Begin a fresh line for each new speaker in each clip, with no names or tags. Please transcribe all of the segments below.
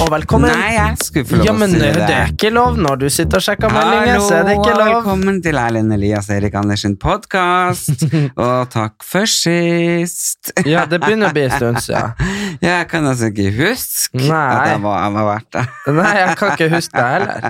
og velkommen.
Nei, jeg skulle få lov
ja,
å
men
si
det er
det.
ikke lov når du sitter og sjekker meldinger.
Hallo
så er det ikke
og
lov.
velkommen til Erlend Elias Erik Andersen podkast. og takk for sist.
Ja, det begynner å bli en stund siden.
Jeg kan altså ikke huske
Nei.
at jeg var, jeg var vært der.
Nei, jeg kan ikke huske det heller.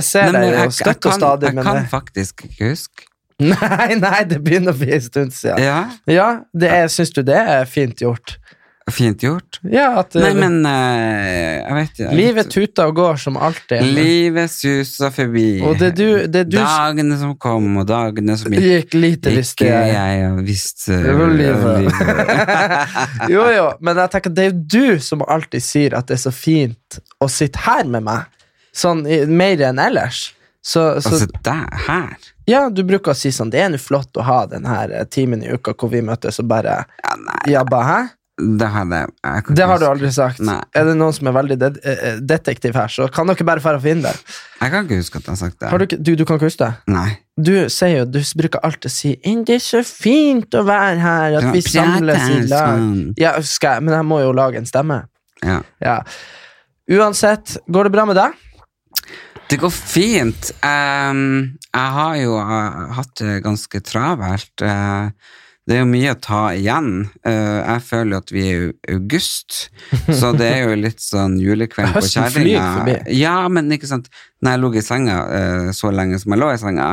Jeg
Nei,
ser
men
deg jo
jeg- jeg
støtt og
kan-
stadig,
Jeg
men
kan faktisk ikke huske.
Nei, nei, det begynner å bli en stund siden.
Ja,
Ja, det er, syns du det er fint gjort?
fint gjort.
Ja, at
Nei,
eh,
men eh, jeg vet ikke.
livet tuter og går som alltid.
Livet suser forbi.
Og det er du, det er du som
Dagene som kom, og dagene som gikk.
gikk lite visst
Ikke jeg eh, visste
Det var livet.
om
Jo, jo, men jeg tenker det er jo du som alltid sier at det er så fint å sitte her med meg. Sånn i- mer enn ellers. Så, så
Altså, der, her
ja, du bruker å si sånn Det er nå flott å ha den her eh, timen i uka hvor vi møtes og bare
ja, Nei,
jabba, hæ?
det hadde jeg jeg kan
Det
ikke
har du
huske.
aldri sagt.
Nei.
Er det noen som er veldig det- eh, eh, detektiv her, så kan dere bare dra og finne det.
Jeg kan ikke huske at jeg har sagt det.
Har du, ikke- du, du kan ikke huske det?
Nei.
Du sier jo, du bruker alltid å si «Inn, 'Det er så fint å være her, at vi samles i lag'. Ja, skal jeg, men jeg må jo lage en stemme.
sånn. Ja.
Ja. Uansett, går det bra med deg?
Det går fint. Ehm, jeg har jo eh, hatt det ganske travelt. Eh, det er jo mye å ta igjen. Eh, jeg føler jo at vi er i august, så det er jo litt sånn julekveld på
Høsten flyr
kjerringa.
forbi.
Ja, men ikke sant. Når jeg lå i senga eh, så lenge som jeg lå i senga,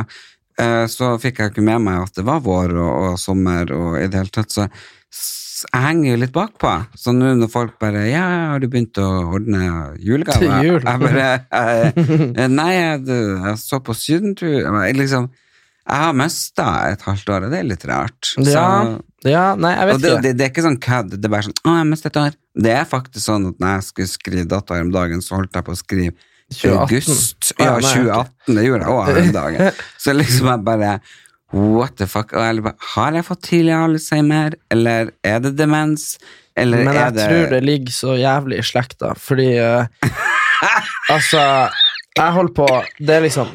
eh, så fikk jeg ikke med meg at det var vår og, og sommer og i det hele tatt, så s- jeg henger jo litt bakpå. Så nå når folk bare Ja, har du begynt å ordne julegaver?
Til jul.
Jeg bare jeg, Nei, jeg, jeg så på sydentur jeg, liksom, jeg har mista et halvt år, og det er litt rart. Så-
Ja, ja, nei, jeg
og
vet
det,
ikke.
det, det er ikke sånn kødd. Det er bare sånn 'Å, jeg mistet et år'. Det er faktisk sånn at når jeg skulle skrive datoer om dagen, så holdt jeg på å skrive
2018.
august.
Å, ja,
Ja,
nei,
2018. Det gjorde jeg òg den dagen. Så liksom jeg bare What the fuck? Og jeg bare, har jeg fått tidlig Alzheimer, eller er det demens? Eller
Men
er
jeg
det
tror det ligger så jævlig i slekta, fordi eh, Altså, jeg holder på Det er liksom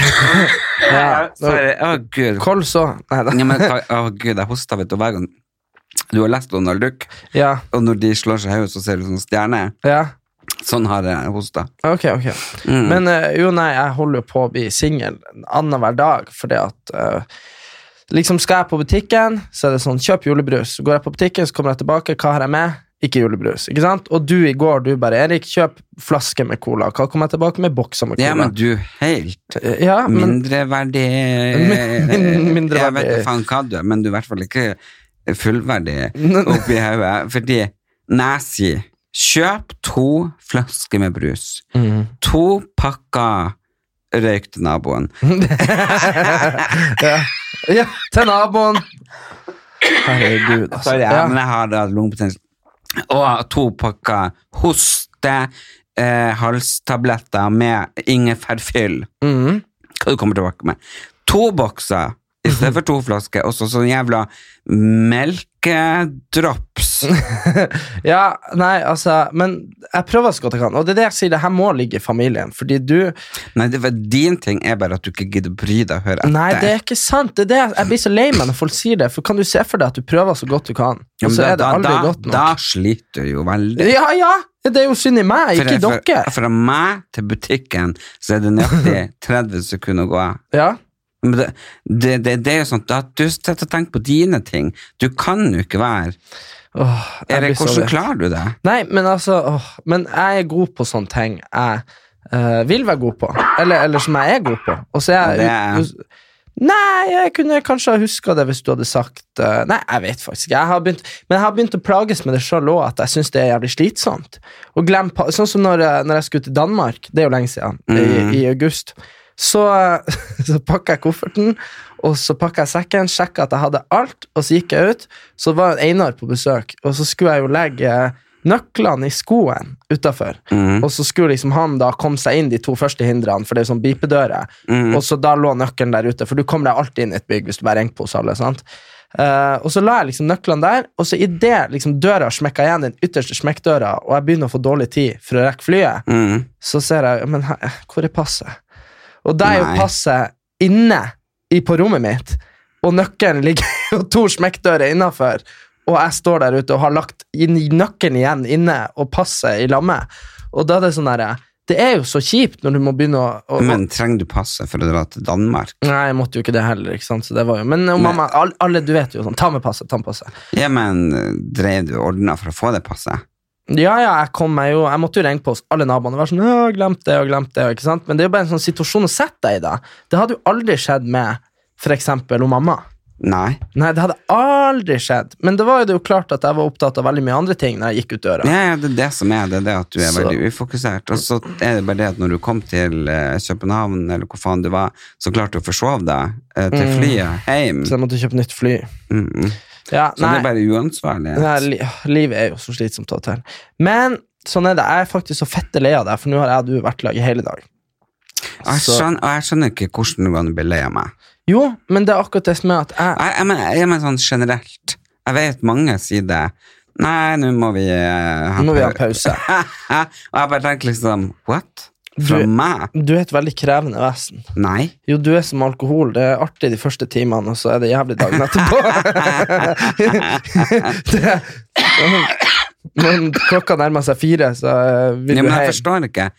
ja,
Sorry. Å, gud.
Kols òg. Nei da.
Ja, men, hva- å gud, jeg hosta vet du, hver gang du har lest Donald Duck,
Ja,
og når de slår seg i hodet, så ser du sånn stjerne.
ja.
Sånn har jeg hosta.
Ok, ok.
Mm.
Men eh, jo, nei, jeg holder jo på å bli singel annenhver dag, fordi at eh, Liksom Skal jeg på butikken, så er det sånn Kjøp julebrus. Går jeg på butikken, så kommer jeg tilbake. Hva har jeg med? Ikke julebrus. ikke sant? Og du i går, du bare Erik, kjøp flaske med cola. Hva kommer jeg tilbake med? Bokser med cola.
ja, men du er helt
Eh, ja, men
mindreverdig
Min- mindreverdig.
Jeg vet ikke faen hva du er, men du er i hvert fall ikke fullverdig oppi hodet. Fordi Nazi Kjøp to flasker med brus.
Mm.
To pakker røyk til naboen.
ja. ja, til naboen. Herregud, altså.
Sorry, ja.
ja.
men jeg har da lungebetennelse. Og to pakker hoste, eh, halstabletter med ingefærfyll.
Mhm.
Hva du kommer tilbake med. To bokser i stedet for to flasker, og så sånn jævla melkedrops.
ja, nei, altså Men jeg prøver så godt jeg kan, og det er det jeg sier, det her må ligge i familien, fordi du
Nei, det, var- din ting er bare at du ikke gidder å bry deg og høre etter.
Nei, det er ikke sant. Det er det. jeg- Jeg blir så lei meg når folk sier det, for kan du se for deg at du prøver så godt du kan,
Ja,
og
men
så er det
da, da,
aldri godt nok?
Da sliter du jo veldig.
Ja, ja! Det er jo synd i meg, ikke i
fra,
dere.
fra meg til butikken så er det nøyaktig 30 sekunder å gå av.
Ja.
Men det, det, det, det er jo sånn at du sitter og tenker på dine ting. Du kan jo ikke være
Åh, jeg blir
Erik,
så
hvordan
lei.
klarer du det?
Nei, men altså åh, Men jeg er god på sånne ting jeg eh, vil være god på. Eller, eller som jeg er god på. Og så er jeg
Ja, det
Nei, jeg kunne kanskje ha huska det hvis du hadde sagt eh, Nei, jeg vet faktisk ikke. Jeg har begynt, men jeg har begynt å plages med det sjøl òg, at jeg syns det er jævlig slitsomt. Og glem, pa- sånn som når, jeg- når jeg skulle til Danmark, det er jo lenge siden,
Mhm.
i, i august, så, så pakka jeg kofferten, og så pakka jeg sekken, sjekka at jeg hadde alt, og så gikk jeg ut. Så var Einar på besøk, og så skulle jeg jo legge nøklene i skoen utafor.
Mm.
Og så skulle liksom han da komme seg inn de to første hindrene, for det er jo sånn bipedører.
Mm.
Og så da lå nøkkelen der ute, for du kommer deg alltid inn i et bygg hvis du bærer enkepose. alle, sant? Eh, og så la jeg liksom nøklene der, og så idet liksom døra smekka igjen, den ytterste smekkdøra, og jeg begynner å få dårlig tid for å rekke flyet,
Mm.
så ser jeg Men her, hvor er passet? Og da er jo
Nei.
passet inne i, på rommet mitt, og nøkkelen ligger jo to smekkdører innafor, og jeg står der ute og har lagt inn, nøkkelen igjen inne og passet i lammet, og da er det sånn derre Det er jo så kjipt når du må begynne å, å
Men trenger du passet for å dra til Danmark?
Nei, jeg måtte jo ikke det heller. ikke sant? Så det var jo, Men jo,
Nei.
mamma, all- alle, du vet jo sånn, ta med passet, ta med passet.
Ja, men drev du ordna for å få det passet?
Ja, ja, jeg kom meg jo, jeg måtte jo ringe på oss, alle naboene. og være sånn, «Å, glemt det, og glemt det, ikke sant? Men det er jo bare en sånn situasjon å sette deg i. da. Det hadde jo aldri skjedd med for eksempel hun mamma.
Nei.
Nei, det hadde aldri skjedd. Men det var jo det jo klart at jeg var opptatt av veldig mye andre ting når jeg gikk ut døra.
Ja, ja, det er det som er det, det er at du er
Så-
veldig ufokusert. Og så er det bare det at når du kom til eh, København, eller hvor faen du var, så klarte du å forsove deg eh, til
Mm.
flyet hjem.
Så jeg måtte kjøpe nytt fly.
Mm, mm.
Ja,
Så det er bare uansvarlig.
Nei, li livet er jo så slitsomt av og til. Men sånn er det. Jeg er faktisk så fette lei av deg, for nå har jeg og du vært i lag i hele dag.
Jeg
Så-
skjønner, og jeg skjønner ikke hvordan du kan bli lei av meg.
Jo, men det er akkurat det som er at jeg
Jeg, jeg, mener, jeg mener sånn generelt. Jeg vet mange sier det. Nei, nå må vi eh, ha
Nå må vi ha
pau-
pause.
Og jeg bare tenker liksom What? Fra
Du-
meg?
Du er et veldig krevende vesen.
Nei.
Jo, du er som alkohol. Det er artig de første timene, og så er det jævlig dagen etterpå. det, men klokka nærmer seg fire, så eh, vil
Ja, men jeg
du hjem.
forstår ikke.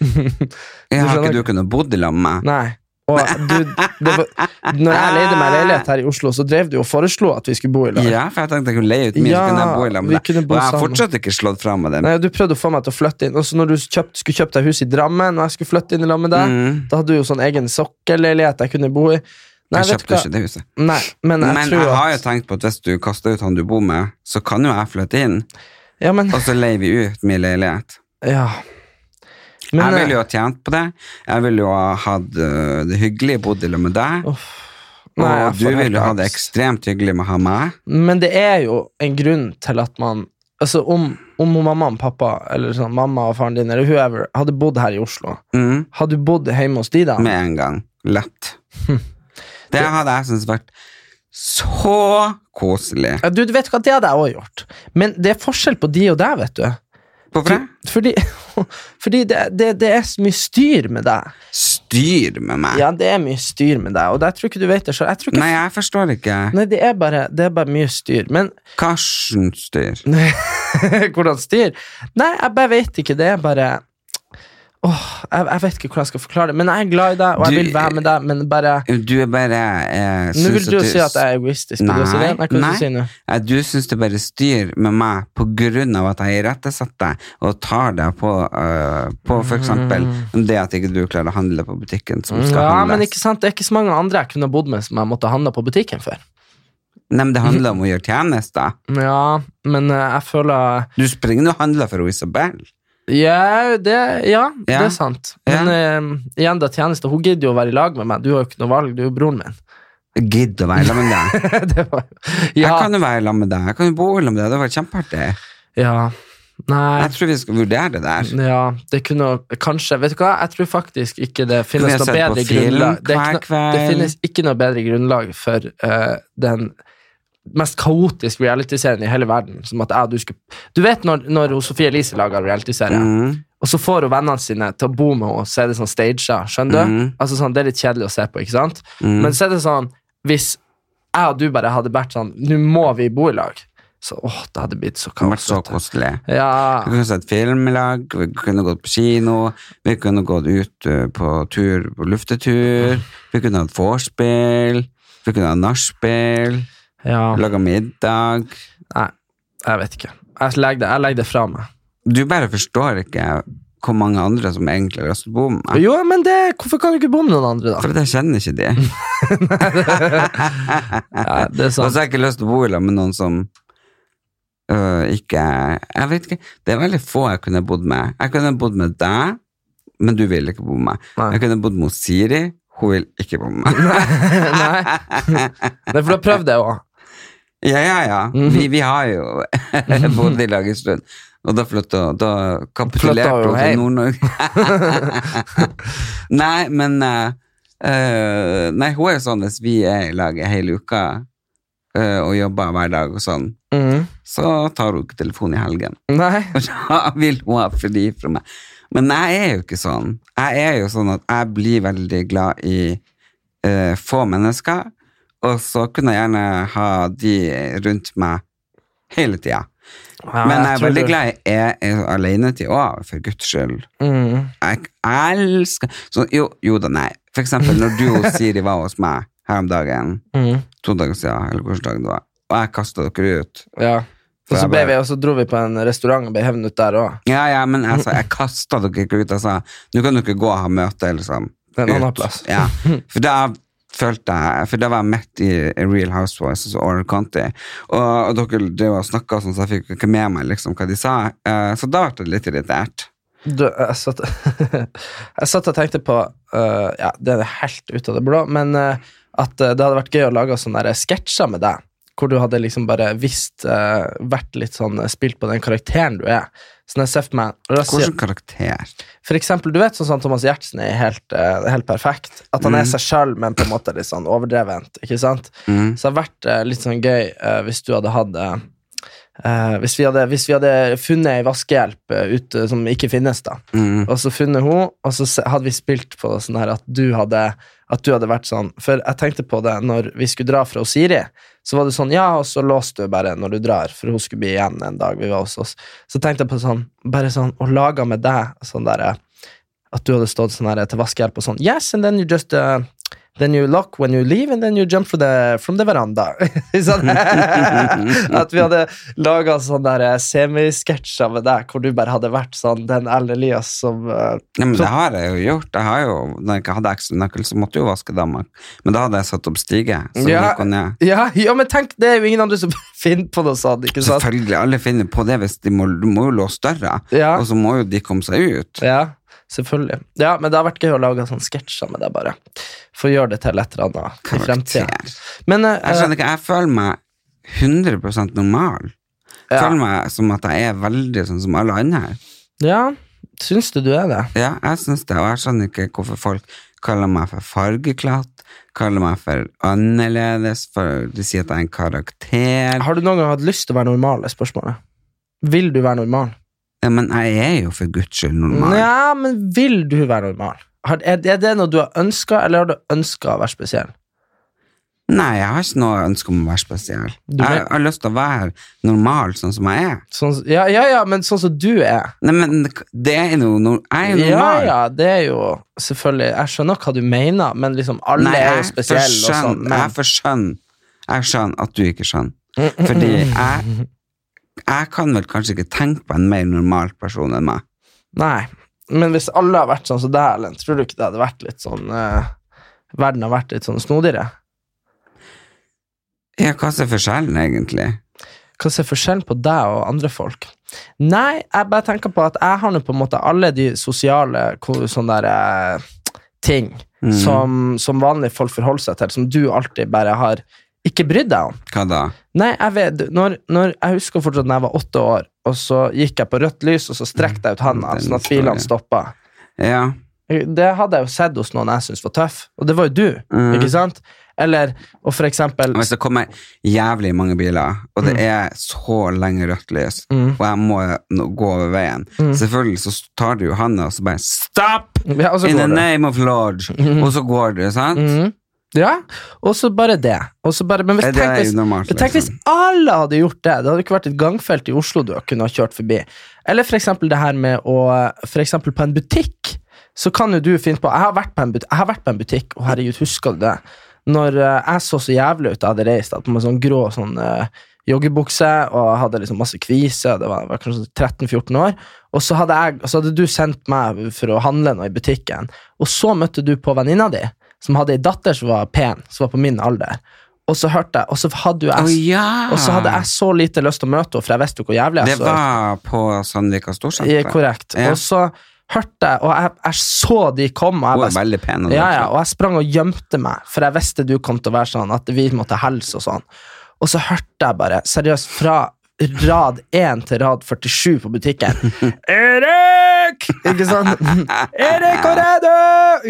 Jeg har
skjønner
ikke du kunnet bodd sammen med meg?
Nei. Og du, det var, når jeg leide meg leilighet her i Oslo, så drev du og foreslo at vi skulle bo i lag.
Ja, for jeg tenkte jeg kunne leie ut min,
Ja,
så kunne jeg bo i lag
vi
med deg.
kunne bo
Og jeg har
sammen.
fortsatt ikke slått fra med dem.
Nei, Du prøvde å få meg til å flytte inn. Og så når du kjøpt, skulle kjøpt deg hus i Drammen, og jeg skulle flytte inn i lag med deg,
Mm.
da hadde du jo sånn egen sokkelleilighet jeg kunne bo i.
Jeg
Nei, vet du
kjøpte
hva?
ikke det huset.
Nei, men jeg
Men
tror
jeg
at-
har jo tenkt på at hvis du kaster ut han du bor med, så kan jo jeg flytte inn,
Ja, men,
og så leier vi ut min leilighet.
ja. Men,
jeg ville
eh,
jo ha tjent på det. Jeg ville jo ha hatt øh, det hyggelig, bodd i lag med deg.
eh, nei, jeg
og du
får helt
ville jo ha det
angst.
ekstremt hyggelig med å ha meg.
Men det er jo en grunn til at man Altså om, om hun mamma og pappa Eller sånn, mamma og faren din eller whoever hadde bodd her i Oslo,
Mm.
hadde du bodd hjemme hos de da?
Med en gang. Lett.
Hm.
Det hadde jeg syntes vært så koselig.
Ja, du, du vet hva, Det hadde jeg òg gjort, men det er forskjell på de og deg. vet du
Hvorfor det?
Fordi, fordi det, det, det er så mye styr med deg.
Styr med meg.
Ja, det er mye styr med deg, og det, jeg tror ikke du vet det sjøl.
Nei, jeg forstår ikke.
Nei, det er, bare, det er bare mye styr. Men
Karsten styr.
hvordan styr? Nei, jeg bare vet ikke. Det er bare Åh, jeg, jeg vet ikke hvordan jeg skal forklare det, men jeg er glad i deg, og jeg
Du-
vil være med deg, men bare
Du er bare eh,
Nå
syns
vil du jo si at jeg er egoistisk. Vil du si det?
Nei,
Nei, hva vil
nei.
du si nå?
Eh, Du syns det bare styr med meg på grunn av at jeg irettesetter deg og tar deg på, eh, på for eksempel det at ikke du klarer å handle på butikken som skal
Mm. Ja, men
handles.
ikke sant, Det er ikke så mange andre jeg kunne bodd med som jeg måtte handle på butikken for.
Nei, men det handler om å gjøre tjenester.
Ja, men eh, jeg føler
Du springer og handler for Isabel.
Ja, det, ja, det
Ja.
er sant. Men eh, igjen, da tjeneste. Hun gidder jo å være i lag med meg. Du har jo ikke noe valg, du er jo broren min.
Jeg gidder å være sammen med deg.
det var,
Jeg
ja,
kan jo være sammen med deg. Jeg kan jo bo sammen med deg. Det hadde vært kjempeartig.
ja. Nei,
Jeg tror vi skal vurdere det der.
ja, det kunne kanskje Vet du hva, jeg tror faktisk ikke det finnes
Kunne
noe
jeg sett på
bedre
film
grunnlag det, er
hver
ikke noe- det
kveld?
finnes ikke noe bedre grunnlag for eh, den mest kaotiske realityserien i hele verden. Som at jeg og du skulle Du vet når, når hun Sofie Elise lager realityserie?
Mm.
Og så får hun vennene sine til å bo med henne, så er det sånn staged. Skjønner du?
Mhm.
Altså sånn, Det er litt kjedelig å se på, ikke sant?
Mhm.
Men så er det sånn, hvis jeg og du bare hadde vært sånn Nå må vi bo i lag. Så åh, det hadde blitt så
Det hadde vært
kaos.
så
vet du.
koselig.
Ja,
Vi kunne sett film i lag, vi kunne gått på kino, vi kunne gått ut eh, på tur på luftetur, vi kunne hatt vorspiel, vi kunne hatt nachspiel,
ja.
laga middag.
Nei, jeg vet ikke. Jeg legger det, jeg legger det fra meg.
Du bare forstår ikke hvor mange andre som egentlig har lyst til å bo med meg.
Jo, men det, hvorfor kan du ikke bo med noen andre, da?
For at jeg kjenner ikke de.
Ja, det er
Og så
sant.
har jeg ikke lyst til å bo i lag med noen som øh, ikke Jeg vet ikke. Det er veldig få jeg kunne bodd med. Jeg kunne bodd med deg, men du vil ikke bo med meg.
Nei.
Jeg kunne bodd med Siri, hun vil ikke bo med meg.
Nei. Nei, for du har prøvd det òg.
Ja, ja, ja. Vi, vi har jo bodd i lag en stund. Og da flytta Da
Flytta
kapitulerte
jo
hun
hjem.
til Nord-Norge. nei, men eh, eh, Nei, hun er jo sånn hvis vi er i lag hele uka eh, og jobber hver dag og sånn,
Mhm.
så tar hun ikke telefonen i helgen.
Nei.
Og da vil hun ha fri fra meg. Men jeg er jo ikke sånn. Jeg er jo sånn at jeg blir veldig glad i eh, få mennesker, og så kunne jeg gjerne ha de rundt meg hele tida.
Ja,
Men jeg er
tror
veldig
du-
glad i jeg er alenetid òg, for guds skyld.
Mhm.
Jeg elsker så, jo, jo da, nei. For eksempel når du og Siri var hos meg her om dagen,
Mhm.
to dager siden, eller hvilken dag det var, og jeg kasta dere ut.
Ja.
For
Og så,
jeg
ble
bare-
vi, og så dro vi på en restaurant og ble hevnet ut der òg.
Ja, ja, men altså, jeg kasta dere ikke ut. Jeg sa nå kan dere gå og ha møte. liksom.
En
ut.
annen plass.
Ja, For da følte jeg, for da var jeg midt i Real Housewives og Oral County. Og, og dere drev og snakka sånn, så jeg fikk ikke med meg liksom, hva de sa. Eh, så da ble jeg litt irritert.
Du, jeg, satt, jeg satt og tenkte på øh, Ja, det er helt ut av det blå, men øh, at øh, det hadde vært gøy å lage sånne der sketsjer med deg. Hvor du hadde liksom bare visst øh, Vært litt sånn øh, spilt på den karakteren du er. Så når jeg ser for meg og da sier-
Hvilken karakter?
For eksempel, du vet sånn som Thomas Gjertsen er helt, øh, helt perfekt. At han er
Mm.
seg sjøl, men på en måte litt sånn overdrevent. Ikke sant?
Mm.
Så det hadde vært eh, litt sånn gøy eh, hvis du hadde hatt eh, eh, hvis, vi hadde, hvis vi hadde funnet ei vaskehjelp eh, ute som ikke finnes, da,
Mm.
og så funnet hun, og så se- hadde vi spilt på sånn her at du hadde at du hadde vært sånn, For jeg tenkte på det når vi skulle dra fra Siri, så var det sånn Ja, og så låste du bare når du drar, for hun skulle bli igjen en dag vi var hos oss. Så tenkte jeg på sånn Bare sånn Og laga med deg sånn derre At du hadde stått sånn her til vaskehjelp og sånn Yes, and then you just uh, Then you lock when you leave, and then you jump from the, from the veranda. sånn. At vi hadde laga sånn der eh, semisketsjer med deg, hvor du bare hadde vært sånn den Erlend Elias som eh,
Nei, men det har jeg jo gjort. Jeg har jo, når jeg ikke hadde ekstra nøkkel, så måtte jeg jo vaske Danmark. Men da hadde jeg satt opp stige. Så
Ja.
gikk hun ned.
Ja, ja, men tenk, det er jo ingen andre som finner på noe sånt, ikke sant?
Selvfølgelig, alle finner på det hvis de må, du må jo låse døra.
Ja,
Og så må jo de komme seg ut.
ja, selvfølgelig. Ja, men det har vært gøy å lage sånn sånne sketsjer med deg, bare. For å gjøre det til et eller annet i fremtiden.
Karakter.
Men eh,
Jeg skjønner ikke, jeg føler meg 100 normal. Jeg
Ja.
føler meg som at jeg er veldig sånn som alle andre her.
ja, syns du du er det?
Ja, jeg synes det, og jeg skjønner ikke hvorfor folk kaller meg for fargeklatt, kaller meg for annerledes, for de sier at jeg er en karakter.
Har du noen gang hatt lyst til å være normal, er spørsmålet. Vil du være normal?
Ja, men jeg er jo for guds skyld normal.
Ja, men vil du være normal? Har, er, er det noe du har ønska, eller har du ønska å være spesiell?
Nei, jeg har ikke noe ønske om å være spesiell.
Du
Jeg har lyst til å være normal, sånn som jeg er.
Sånn, ja, ja, ja, men sånn som du er.
Nei, men det er jo no, jeg er jo
Ja,
normal.
ja, det er jo selvfølgelig Jeg skjønner hva du mener, men liksom alle
Nei,
er jo
jeg
spesielle og
forskjønner-
sånn. Mm, Men,
Jeg forskjønner jeg skjønner at du ikke skjønner. Fordi jeg, jeg kan vel kanskje ikke tenke på en mer normal person enn meg.
nei. men hvis alle har vært sånn som deg, Erlend, tror du ikke det hadde vært litt sånn eh, Verden har vært litt sånn snodigere?
Ja, hva er forskjellen egentlig?
Hva er forskjellen på deg og andre folk? Nei, jeg bare tenker på at jeg har nå på en måte alle de sosiale ko- sånne der, eh, ting
Mm.
som, som vanlige folk forholder seg til, som du alltid bare har ikke brydd deg om.
Hva da?
Nei, jeg vet når, når, Jeg husker fortsatt da jeg var åtte år, og så gikk jeg på rødt lys, og så strekte jeg ut handa,
Mm, Den
sånn at
historien.
bilene stoppa.
Ja.
Det hadde jeg jo sett hos noen jeg syntes var tøff, og det var jo du.
Mm.
ikke sant? Eller, og for eksempel
Og Hvis det kommer jævlig mange biler, og det er så lenge rødt lys,
Mm.
og jeg må nå gå over veien, selvfølgelig så tar du jo handa og så bare Stopp!
ja, og så
In the
går du. Mm.
name of Lord! Og så går du, sant?
Mhm. Ja, og så bare det. Og så bare, men hvis,
Ja, Eh, Det
tenk,
er
hvis,
jo normalt.
Men Tenk hvis
liksom.
alle hadde gjort det. Det hadde ikke vært et gangfelt i Oslo du kunne ha kjørt forbi. Eller for eksempel det her med å For eksempel på en butikk, så kan jo du finne på Jeg har vært på en butikk, jeg har vært på en butikk og herregud, husker du det? Når eh, jeg så så jævlig ut da jeg hadde reist, at med sånn grå sånn eh, joggebukse og jeg hadde liksom masse kviser, det var, jeg var kanskje 13-14 år, og så hadde, jeg, så hadde du sendt meg for å handle noe i butikken, og så møtte du på venninna di, som hadde ei datter som var pen, som var på min alder, og så hørte jeg, og så hadde jo
Å
jeg
ja!
og så hadde jeg så lite lyst til å møte henne, for jeg visste jo hvor jævlig jeg
Det
så ut.
var på Sandvika
Eh,
Storsenter.
Korrekt.
Ja.
Og så hørte jeg, og jeg, jeg så de kom, og
Hun
jeg,
er
bare,
veldig pen. og
ja,
død.
ja, og jeg sprang og gjemte meg, for jeg visste du kom til å være sånn, at vi måtte helse og sånn. Og så hørte jeg bare, seriøst, fra rad 1 til rad 47 på butikken. Erik! Ikke sant? Erik og Redo!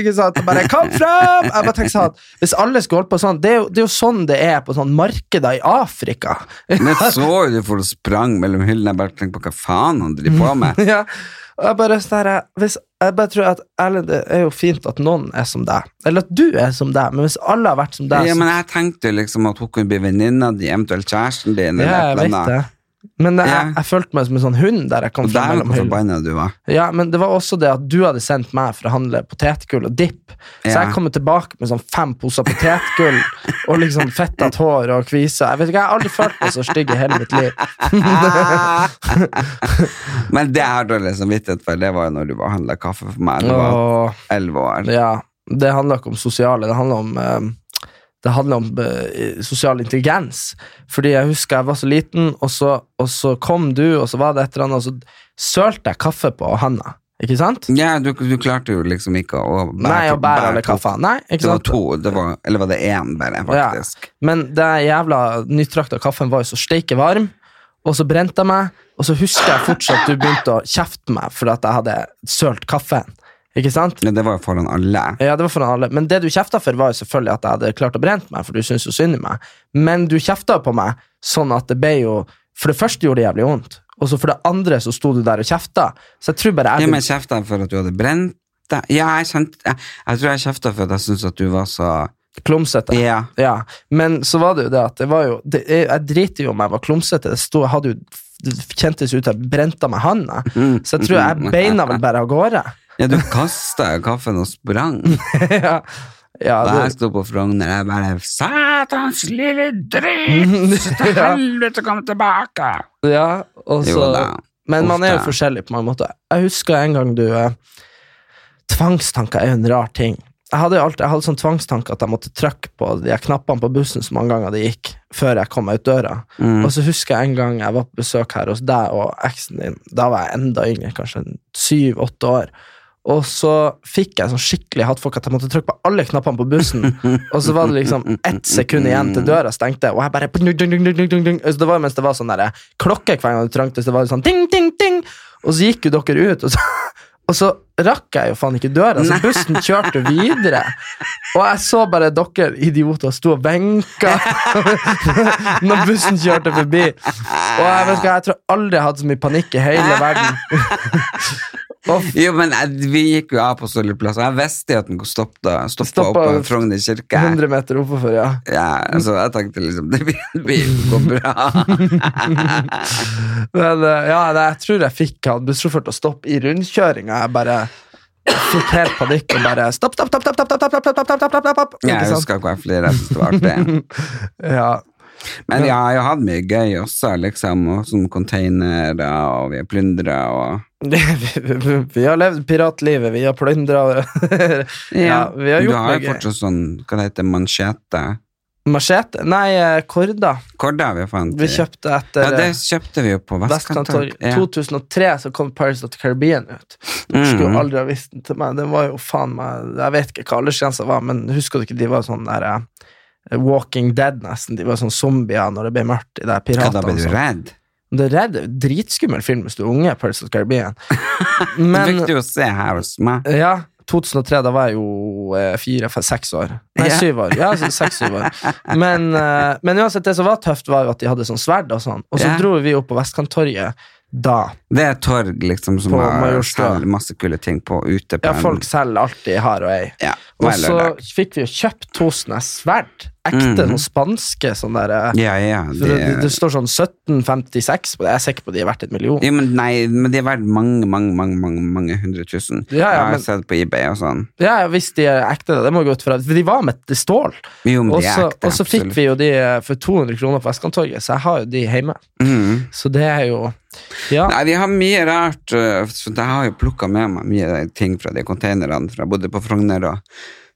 Ikke sant? Og Bare kom fram! Jeg bare tenker sånn, Hvis alle skulle holdt på sånn, det er, jo, det er jo sånn det er på sånn markeder i Afrika.
Men jeg så jo du for du sprang mellom hyllene, jeg bare tenkte på hva faen han driver på med.
ja. Og jeg bare, sånn her, hvis, jeg bare tror at Erlend, det er jo fint at noen er som deg. Eller at du er som deg, men hvis alle har vært som deg
Ja,
så-
men jeg tenkte jo liksom at hun kunne bli venninna di, eventuelt kjæresten din, eller
Ja, jeg
et eller
vet
annet.
det. Men jeg,
Ja.
jeg følte meg som en sånn hund der jeg kom
Og
fra
der
mellom
hvor
hyllene.
forbanna du var.
Ja, men det var også det at du hadde sendt meg for å handle potetgull og dipp. Så
Ja.
jeg kommer tilbake med sånn fem poser potetgull og liksom fettet hår og kviser. Jeg vet ikke, jeg har aldri følt meg så stygg i hele mitt liv.
Men det jeg har dårlig samvittighet for, det var jo når du bare handla kaffe for meg. Du var
og,
elleve år.
ja, det handler ikke om sosiale, det handler om... eh, det handler om eh, sosial intelligens. Fordi jeg husker jeg var så liten, og så, og så kom du, og så var det et eller annet, og så sølte jeg kaffe på handa. Ikke sant?
Ja, du, du klarte jo liksom ikke å bære,
Nei, og bære alle
to-
kaffa. Nei, ikke
Det var
sant?
to, det var, eller var det én bare, faktisk.
Men den jævla nyttrakta kaffen var jo så steike varm, og så brente jeg meg, og så husker jeg fortsatt du begynte å kjefte meg fordi at jeg hadde sølt kaffen. Ikke sant?
Men det var jo foran alle.
Ja, det var foran alle. Men det du kjefta for, var jo selvfølgelig at jeg hadde klart å brent meg, for du syntes jo synd i meg. Men du kjefta på meg sånn at det ble jo For det første gjorde det jævlig vondt, og så for det andre så sto du der og kjefta. Så jeg tror bare
Ja,
jeg
men kjefta jeg for at du hadde brent deg? Ja, jeg, kjente, jeg, jeg tror jeg kjefta for at jeg syntes at du var så
ble klumsete.
Ja.
Ja, men så var det jo det at det var jo, det, jeg, jeg driter jo om jeg var klumsete. Det, sto, jeg hadde jo, det kjentes jo ut som jeg brente av meg handa. Mm. Så jeg tror jeg beina vel bare av gårde.
Mm. Ja, du kasta kaffen og sprang.
ja, ja,
Og jeg
det,
sto på Frogner og jeg bare 'Satans lille dritt! Så Til
Ja.
helvete, kom tilbake!'
ja, og så,
Jo da.
men man er jo
Ofte.
forskjellig på mange måter. Jeg husker en gang du eh, Tvangstanker er jo en rar ting. Jeg hadde jo alltid, jeg hadde sånn tvangstanke at jeg måtte trykke på de her knappene på bussen så mange ganger det gikk, før jeg kom meg ut døra.
Mm.
Og så husker jeg en gang jeg var på besøk her hos deg og eksen din. Da var jeg enda yngre, kanskje syv-åtte år. Og så fikk jeg sånn skikkelig hattfolk at jeg måtte trykke på alle knappene på bussen. Og så var det liksom ett sekund igjen til døra stengte, og jeg bare dung, dung, dung, dung, dung, dung. Så Det var mens det var sånn der, klokke hver gang du trengte, så det var sånn ding, ding, ding. Og så gikk jo dere ut, og så, og så rakk jeg jo faen ikke døra, så bussen kjørte videre. Og jeg så bare dere idioter sto og benka når bussen kjørte forbi. Og jeg vet ikke, jeg tror aldri jeg hadde så mye panikk i hele verden. Og
Jo, men jeg, vi gikk jo av på Sølvplass, og jeg visste jo at den stoppa
Stoppa-
opp på Frogner kirke.
100 meter oppover, ja.
Ja, altså, jeg tenkte liksom Det vil- vil gå bra.
Men eh, ja, nei, jeg tror jeg fikk han bussjåføren til å stoppe i rundkjøringa. Jeg bare fikk helt panikk og bare stopp, stopp, stopp, stopp, stopp, stopp, stopp, stopp, stopp, stopp, stopp, stopp, stopp.
Ja, jeg
Ikke sant?
husker ikke hva jeg flere jeg syntes det var artig.
Ja.
Men jeg har jo hatt mye gøy også, liksom, og som containere, og vi har plyndra og
Vi har levd piratlivet, vi har plyndra Ja, vi har
Du
gjort
har
mye
jo
gøy.
fortsatt sånn, hva det heter, mansjete.
Machete? Nei, eh, korda.
Korda har vi fant.
Vi kjøpte
ja,
etter
det
eh,
kjøpte vi jo på
Vestkanttorget.
Vestkanttorget. Ja.
2003 så kom Pirates of the Caribbean ut.
Mm.
Skulle jo aldri ha visst den til meg. Den var jo faen meg Jeg vet ikke hva aldersgrensa var, men husker du ikke de var sånn der eh, Walking Dead, nesten. De var sånn zombier når det ble mørkt. De
Ja,
der
da
piratene.
ble
og
du
sånn.
redd.
Det er redd, dritskummel film hvis du er unge. Pirates of the Caribbean.
Det
Men
fikk du jo se her hos meg.
ja, 2003, da var jeg jo eh, fire, fem, seks år. Nei,
Ja.
syv år. Ja, så seks, syv år. Men, eh, men uansett, det som var tøft, var jo at de hadde sånn sverd og sånn. Og så
Ja.
dro vi opp på Vestkanttorget da.
Det er et torg liksom som
På
har
Majorstua.
selger masse kule ting på ute på
Ja,
en-
folk selger alt de har og ei.
Ja,
Og
hver
så
lørdag.
fikk vi jo kjøpt to sånne sverd. Ekte, sånn spanske sånn der eh,
Mhm. Ja, ja.
for det, det,
De,
står sånn 1756 på det. Jeg er sikker på de er verdt et million.
jo, men nei, men de er verdt mange, mange, mange mange, mange hundre tusen.
Ja, ja,
jeg har
men-
sett på eBay og sånn.
Ja, ja, hvis de er ekte, det må jeg gå ut fra. For de var med til stål.
Jo, men Mm,
Og
de er
så
ekte,
og så fikk
absolutt.
vi jo de eh, for 200 kroner på Vestkanttorget, så jeg har jo de hjemme.
Mhm.
Så det er jo Ja.
Nei, vi har mye rart. øh, så Jeg har jo plukka med meg mye ting fra de konteinerne fra jeg bodde på Frogner. og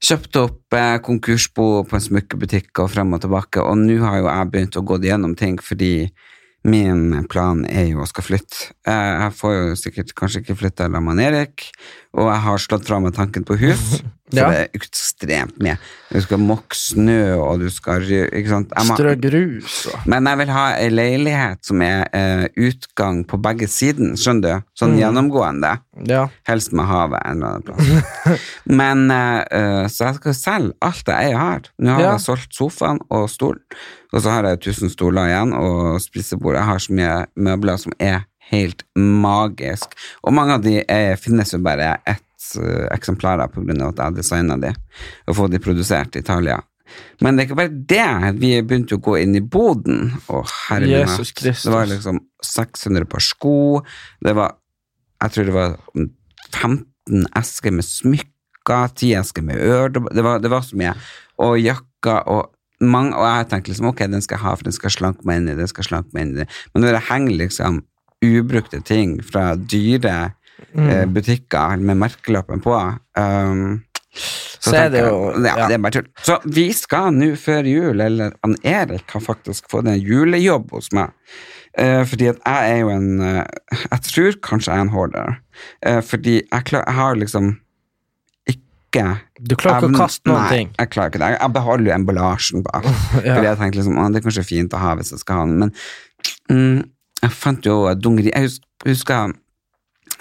Kjøpte opp eh, konkursbo på en smykkebutikk og frem og tilbake. Og nå har jo jeg begynt å gå gjennom ting, fordi min plan er jo å skal flytte. Eh, Jeg får jo sikkert kanskje ikke flytte sammen med Erik, og jeg har slått fra meg tanken på hus. For
Ja.
det er ekstremt mye. Du skal mokke snø, og du skal ry- ikke sant? Jeg må-
Strø grus og
Men jeg vil ha ei leilighet som er eh, utgang på begge siden, skjønner du? Sånn gjennomgående.
Ja.
Helst med havet en eller annen plass. Men eh, eh, Så jeg skal selge alt jeg eier og har. Nå har
Ja.
jeg solgt sofaen og stolen, og så har jeg 1000 stoler igjen og spisebord. Jeg har så mye møbler som er helt magisk. Og mange av de er, finnes jo bare ett eh, eksemplar av på grunn av at jeg designa de og fått de produsert i Italia. Men det er ikke bare det. Vi begynte jo å gå inn i boden. Å, herre min hatt.
Jesus Kristus.
Det var liksom 600 par sko. Det var Jeg tror det var 15 esker med smykker, 10 esker med øredobber det, var- det var så mye. Og jakker og mange, Og jeg tenkte liksom ok, den skal jeg ha, for den skal slanke meg inn i. den skal slanke meg inn i det. Men når det henger liksom ubrukte ting fra dyre
Mm.
eh, butikker med merkelappen på um,
Så
tenker
er det
jeg,
jo-
ja,
ja.
det er bare tull. Så vi skal nå før jul, eller han Erik har faktisk fått en julejobb hos meg. Eh, fordi at jeg er jo en eh, Jeg tror kanskje jeg er en hoarder. Eh, fordi jeg, klar, jeg har liksom ikke
Du klarer ikke
evnen-
å kaste noen
Nei,
ting.
jeg klarer ikke det. Jeg- Jeg beholder jo emballasjen bare.
Ja.
Fordi jeg tenkte liksom, «Å, det er kanskje fint å ha hvis jeg skal ha den, men mm, jeg fant jo dungeri Jeg hus- husker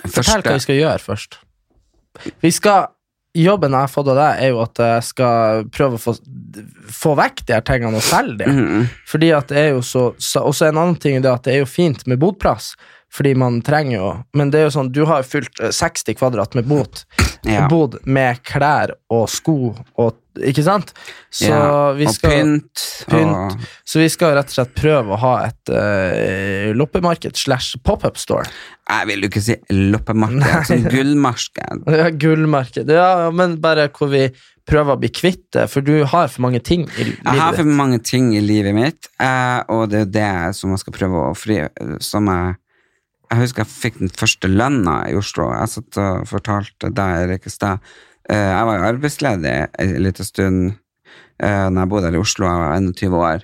Fortell hva vi skal gjøre først. Vi skal Jobben jeg har fått av deg, er jo at jeg skal prøve å få, få vekk de her tingene og selge dem.
Mhm.
Fordi at det er jo så, så Og så en annen ting er det at det er jo fint med bodplass, fordi man trenger jo Men det er jo sånn, du har jo fylt eh, 60 kvadrat med bot,
Ja.
bod med klær og sko og Ikke sant? Så
Ja,
vi
og
skal
pynt.
pynt.
Og,
Så vi skal rett og slett prøve å ha et eh, loppemarked slash pop-up store.
jeg vil jo ikke si loppemarked, sånn gullmarked.
Ja, gullmarked. Ja, ja, men bare hvor vi prøver å bli kvitt det, for du har for mange ting i livet
Jeg har for
ditt.
mange ting i livet mitt, eh, og det er det som jeg skal prøve å fri som jeg, jeg husker jeg fikk den første lønna i Oslo. Jeg satt og fortalte deg, Erik, i stad. Eh, jeg var jo arbeidsledig en liten stund eh, når jeg bodde her i Oslo, jeg var 21 år.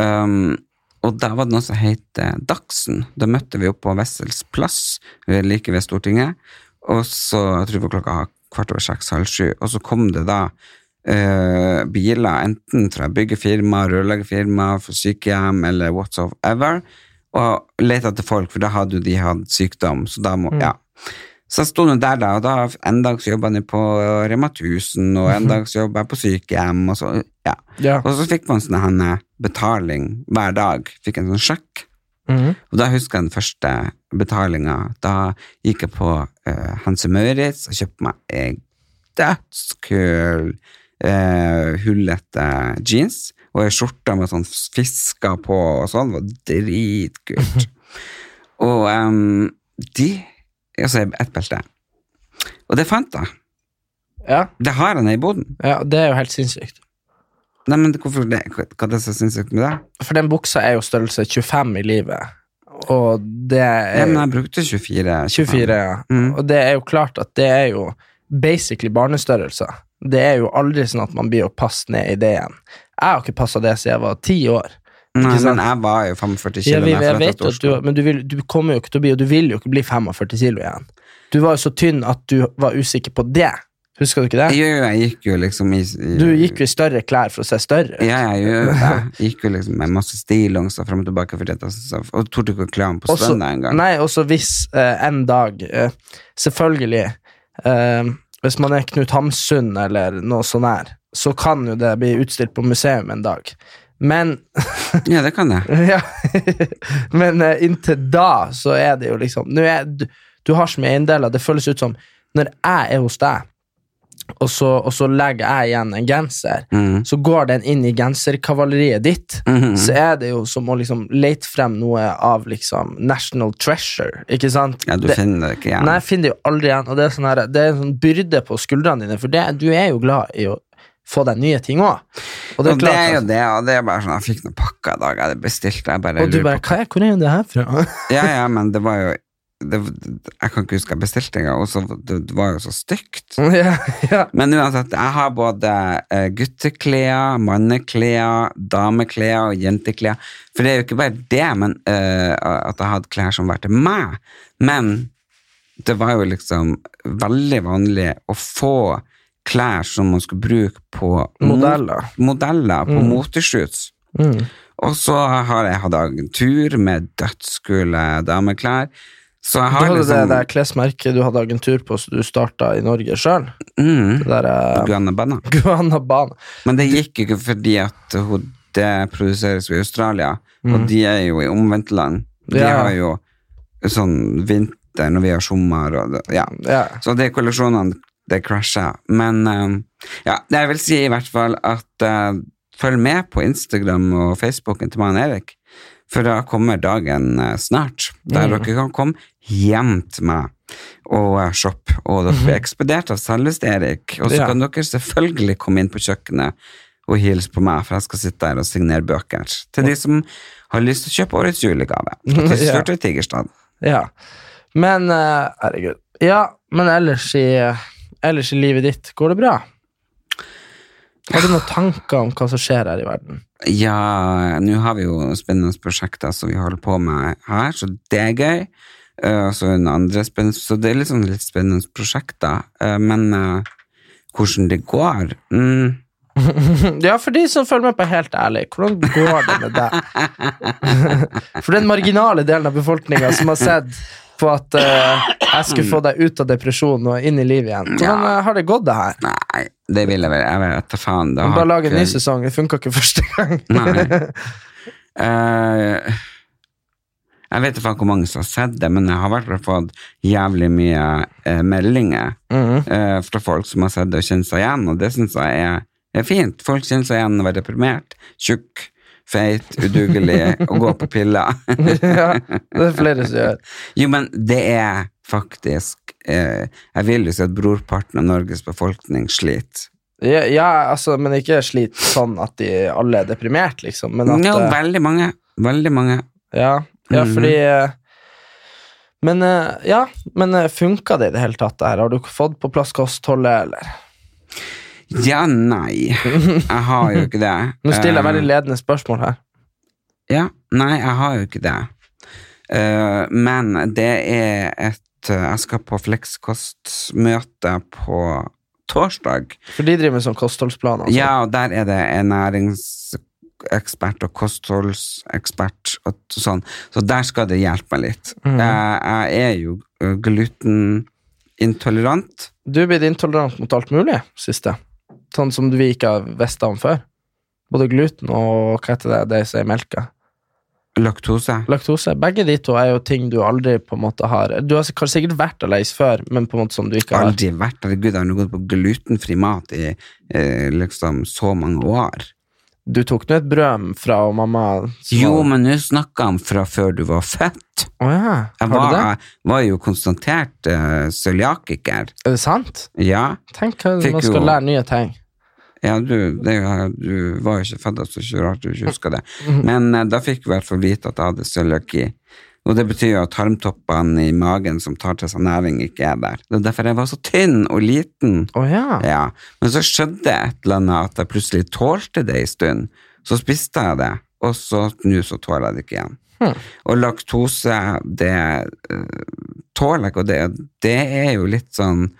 Um, og da var det noe som het eh, Dagsen. Da møtte vi opp på Wessels plass, vi er like ved Stortinget. Og så, jeg tror det var klokka kvart over seks, halv sju, og så kom det da eh, biler, enten fra byggefirma, rørleggerfirma, for sykehjem eller whatsoever, og lette etter folk, for da hadde jo de hatt sykdom, så da må, ja. Så jeg sto nå der, da, og da en dag så jobba jeg på eh, Rema 1000, og en dag så jobba jeg på sykehjem, og så, ja.
Ja.
Og så fikk man sånn her, eh, betaling hver dag. Fikk en sånn sjekk.
Mhm.
Og da husker jeg den første betalinga. Da gikk jeg på eh, Hanse Møritz og kjøpte meg en dødskul, eh, hullete jeans og ei skjorte med sånn fisker på og sånn. Det var dritkult. og em, de Altså ett belte. Og det fant jeg.
Ja,
Det har jeg nede i boden.
ja, det er jo helt sinnssykt.
Nei, men hvorfor det? Hva hva er det som er sinnssykt med det?
For den buksa er jo størrelse 25 i livet, og det
Ja,
er
men jeg brukte 24.
24, ja.
Mm.
Og det er jo klart at det er jo basically barnestørrelse. Det er jo aldri sånn at man blir å passe ned i det igjen. Jeg har ikke passa det siden jeg var ti år.
Nei,
Ikke sant?
men jeg var jo 45 kilo.
Ja, vi,
når
jeg
flyttet
vet
til
jo at du,
Oslo.
men du, vil, du kommer jo ikke til å bli Og du vil jo ikke bli 45 kilo igjen. Du var jo så tynn at du var usikker på det. Husker du ikke det?
Jo, jo, jeg gikk jo liksom i, i
Du gikk jo i større klær for å se større ut.
Ja, jeg gjør jo det. Jeg Gikk jo liksom med masse stillongser fram og tilbake fordi at jeg syntes jeg- Og torde ikke å kle meg på
Også-
søndag engang.
Nei, også hvis eh, en dag eh, Selvfølgelig eh, Hvis man er Knut Hamsun eller noe sånn her, så kan jo det bli utstilt på museum en dag. Men
Ja, det kan jeg.
Ja, men eh, inntil da så er det jo liksom nå er, du, du har så mye eiendeler. Det føles ut som når jeg er hos deg, og så, og så legger jeg igjen en genser,
Mm.
så går den inn i genserkavaleriet ditt.
Mhm.
Så er det jo som å liksom lete frem noe av liksom National Treasure, ikke sant?
Ja, du
det,
finner det ikke igjen.
Nei, jeg finner det jo aldri igjen, og det er, sånn her, det er en sånn byrde på skuldrene dine, for det, du er jo glad i å få deg nye ting òg. Og det er
og det er
klart altså.
jo
at
det, og det er bare sånn Jeg fikk noen pakker i dag, jeg hadde bestilt jeg bare
og du
lurer
bare Hva er, hvor er det her fra?
på- Ja, ja, men det var jo det, Jeg kan ikke huske jeg bestilte engang, og så det, det var jo så stygt.
ja, ja.
Men uansett, jeg har både eh, gutteklær, manneklær, dameklær og jenteklær. For det er jo ikke bare det men, eh, at jeg hadde klær som var til meg. Men det var jo liksom veldig vanlig å få klær som man skulle bruke på
Modeller.
mot- modeller på moteshoots.
Mm.
Og så har jeg hatt agentur med dødskule dameklær. Så jeg
Du
har
hadde det
liksom
der klesmerket du hadde agentur på, så du starta i Norge sjøl.
mm,
Det derre
Guanabana.
Guanabana.
Men det gikk ikke fordi at hun, det produseres i Australia, og de er jo i omvendt land. De
Ja.
har jo sånn vinter når vi har sommer og det, ja.
Ja.
Så de kollisjonene, det krasja. Men eh, ja, det jeg vil si i hvert fall at eh, følg med på Instagram og Facebooken til meg og Erik, for da kommer dagen eh, snart, der
Mm.
dere kan komme hjem til meg og eh, shoppe, og dere blir ekspedert av selveste Erik. Og så
Mhm. Ja.
kan dere selvfølgelig komme inn på kjøkkenet og hilse på meg, for jeg skal sitte der og signere bøker til de som har lyst til å kjøpe årets julegave. Til
Ja.
Sturte Tigerstad.
ja. Men eh, Herregud. Ja, men ellers i, ellers i livet ditt, går det bra? Har du noen tanker om hva som skjer her i verden?
Ja, nå har vi jo spennende prosjekter som vi holder på med her, så det er gøy. Eh, så, en andre spennende, så det er liksom litt spennende prosjekter. Eh, men eh, hvordan det går mm,
Ja, for de som følger med på Helt ærlig, hvordan går det med deg? For den marginale delen av befolkninga som har sett på at eh, jeg skulle få deg ut av depresjonen og inn i livet igjen. Hvordan eh, har det gått, det her?
Nei, det vil jeg vel. Jeg vet da faen. Det
Bare lag en ny
ikke-
sesong. Det funka ikke første gang.
Nei. Eh, jeg vet ikke faen hvor mange som har sett det, men jeg har i hvert fall fått jævlig mye eh, meldinger
Mhm.
eh, fra folk som har sett det og kjent seg igjen, og det syns jeg er, er fint. Folk kjenner seg igjen og er deprimert, tjukk, feit, udugelig og går på piller.
ja, det er flere som gjør.
Jo, men det er faktisk eh, Jeg vil jo si at brorparten av Norges befolkning sliter.
Ja, ja, altså, men ikke slit sånn at de alle er deprimert, liksom. Men at,
Jo,
eh,
veldig mange. Veldig mange.
Ja, ja
Mhm.
fordi eh, Men eh, ja, men eh, funka det i det hele tatt? det her? Har du fått på plass kostholdet, eller?
Ja, nei. Jeg har jo ikke det.
Nå stiller
Eh,
jeg veldig ledende spørsmål her.
Ja, nei, jeg har jo ikke det. Eh, men det er et eh, Jeg skal på flekskostmøte på torsdag.
For de driver med sånn kostholdsplaner. og sånn.
Ja, og der er det en næringsekspert og kostholdsekspert og t- sånn. Så der skal det hjelpe meg litt.
Mhm.
Eh, jeg er jo eh, glutenintolerant.
Du er blitt intolerant mot alt mulig siste. Sånn som vi ikke har visst om før. Både gluten og hva heter det, det som er i melka.
Laktose.
Laktose. Begge de to er jo ting du aldri på en måte har Du har sik- kanskje sikkert vært allergisk før, men på en måte som du ikke har.
Aldri vært Herregud, jeg har nå gått på glutenfri mat i eh, liksom så mange år.
Du tok nå et brød fra og mamma som
Jo,
var-
men nå snakker han fra før du var født.
Å ja.
Jeg
Har
var,
du det?
jeg var jo konstatert uh, cøliakiker.
Er det sant?
Ja.
Tenk hva
Fikk
man
jo-
skal lære nye ting.
ja, du, det, du var jo ikke født, så ikke rart du ikke husker det. Men eh, da fikk vi i hvert fall vite at jeg hadde cøliaki. Og det betyr jo at tarmtoppene i magen som tar til seg næring, ikke er der. Det er derfor jeg var så tynn og liten.
Å ja.
Ja. Men så skjedde et eller annet at jeg plutselig tålte det en stund. Så spiste jeg det, og så nå så tåler jeg det ikke igjen.
Hmm.
Og laktose, det eh, tåler jeg ikke, og det, det er jo litt sånn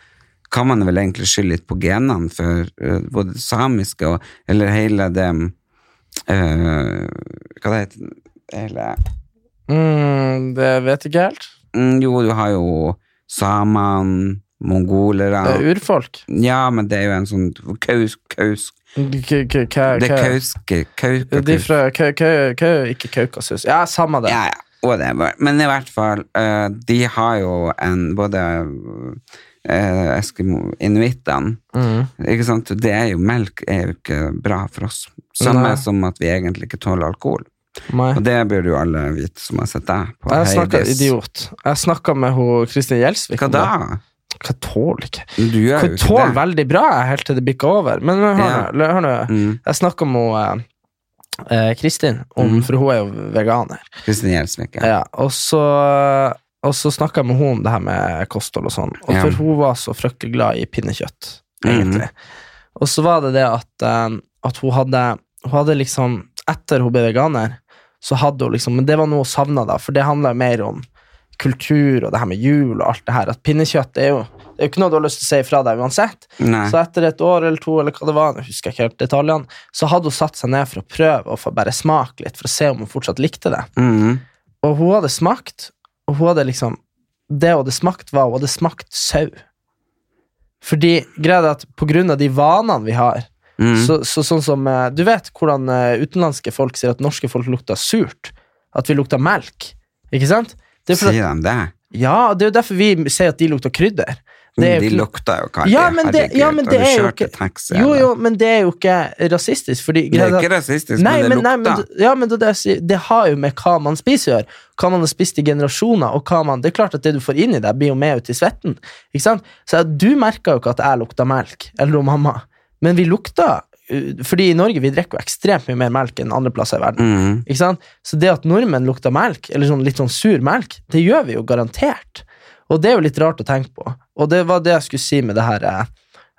kan man vel egentlig skylde litt på genene for eh, både det samiske og Eller hele det eh, Hva det heter Hele
Mm, det vet jeg ikke helt.
mm, Jo, du har jo samene, mongolere
Det er urfolk.
Ja, men det er jo en sånn kaus, kaus,
K- k- k-
Det
k-
er kauske, kauke,
De fra Kø... Kø... Kø... Ikke Kaukasus. Ja, samme det.
Ja, ja, whatever. Men i hvert fall, eh, de har jo en både eh, Eskimo, inuittene,
Mm.
ikke sant? Det er jo melk, er jo ikke bra for oss. Samme
Nei.
som at vi egentlig ikke tåler alkohol.
Nei.
Og det burde jo alle vite som har sett deg på
Jeg snakka
Heidis.
idiot. Jeg snakka med ho, Kristin Gjelsvik.
Hva
om
da?
det. Hva tåler ikke
Du gjør
Hun
jo ikke
tåler
det.
veldig bra jeg, helt til det bikker over. Men men hør
Ja.
nå, hør nå.
Mm.
Jeg snakka med hun, eh, eh, Kristin, om,
Mhm.
for hun er jo veganer.
Kristin Gjelsvik, ja.
Ja, og så, og så snakka jeg med henne om det her med kosthold og sånn. Og
Ja. Mhm.
For hun var så fryktelig glad i pinnekjøtt, egentlig. Og så var det det at, eh, at hun, hadde, hun hadde liksom Etter hun ble veganer, så hadde hun liksom Men det var noe hun savna, da, for det handla mer om kultur og det her med jul og alt det her, at pinnekjøtt er jo, det er jo ikke noe du har lyst til å si fra deg uansett.
Nei.
Så etter et år eller to, eller hva det var, nå husker jeg ikke helt detaljene, så hadde hun satt seg ned for å prøve og for bare smake litt, for å se om hun fortsatt likte det.
Mhm.
Og hun hadde smakt, og hun hadde liksom Det hun hadde smakt, var hun hadde smakt sau. Fordi greia er at på grunn av de vanene vi har,
Mhm.
så, så sånn som eh, Du vet hvordan eh, utenlandske folk sier at norske folk lukter surt? At vi lukter melk? Ikke sant? Det er for at,
Sier de det?
ja, det er jo derfor vi sier at de lukter krydder. Det er jo
Mm, de
ikke-
lukter jo kaffe.
Ja, men det- ja, men det er jo ikke-
taxi,
jo,
eller?
jo, men det er jo ikke rasistisk. Fordi,
Det er
greia er
ikke
at-
rasistisk,
nei,
men det
men, nei, men,
lukter.
det- ja, men det, er det, jeg sier. det har jo med hva man spiser å gjøre. Hva man har spist i generasjoner. Og hva man, det er klart at det du får inn i deg, blir jo med ut i svetten. Ikke sant? Så jeg- Du merka jo ikke at jeg lukta melk, eller hun mamma. Men vi lukta uh, Fordi i Norge vi drikker jo ekstremt mye mer melk enn andre plasser i verden.
Mhm.
Ikke sant? Så det at nordmenn lukter melk, eller sånn litt sånn sur melk, det gjør vi jo garantert. Og det er jo litt rart å tenke på. Og det var det jeg skulle si med det her,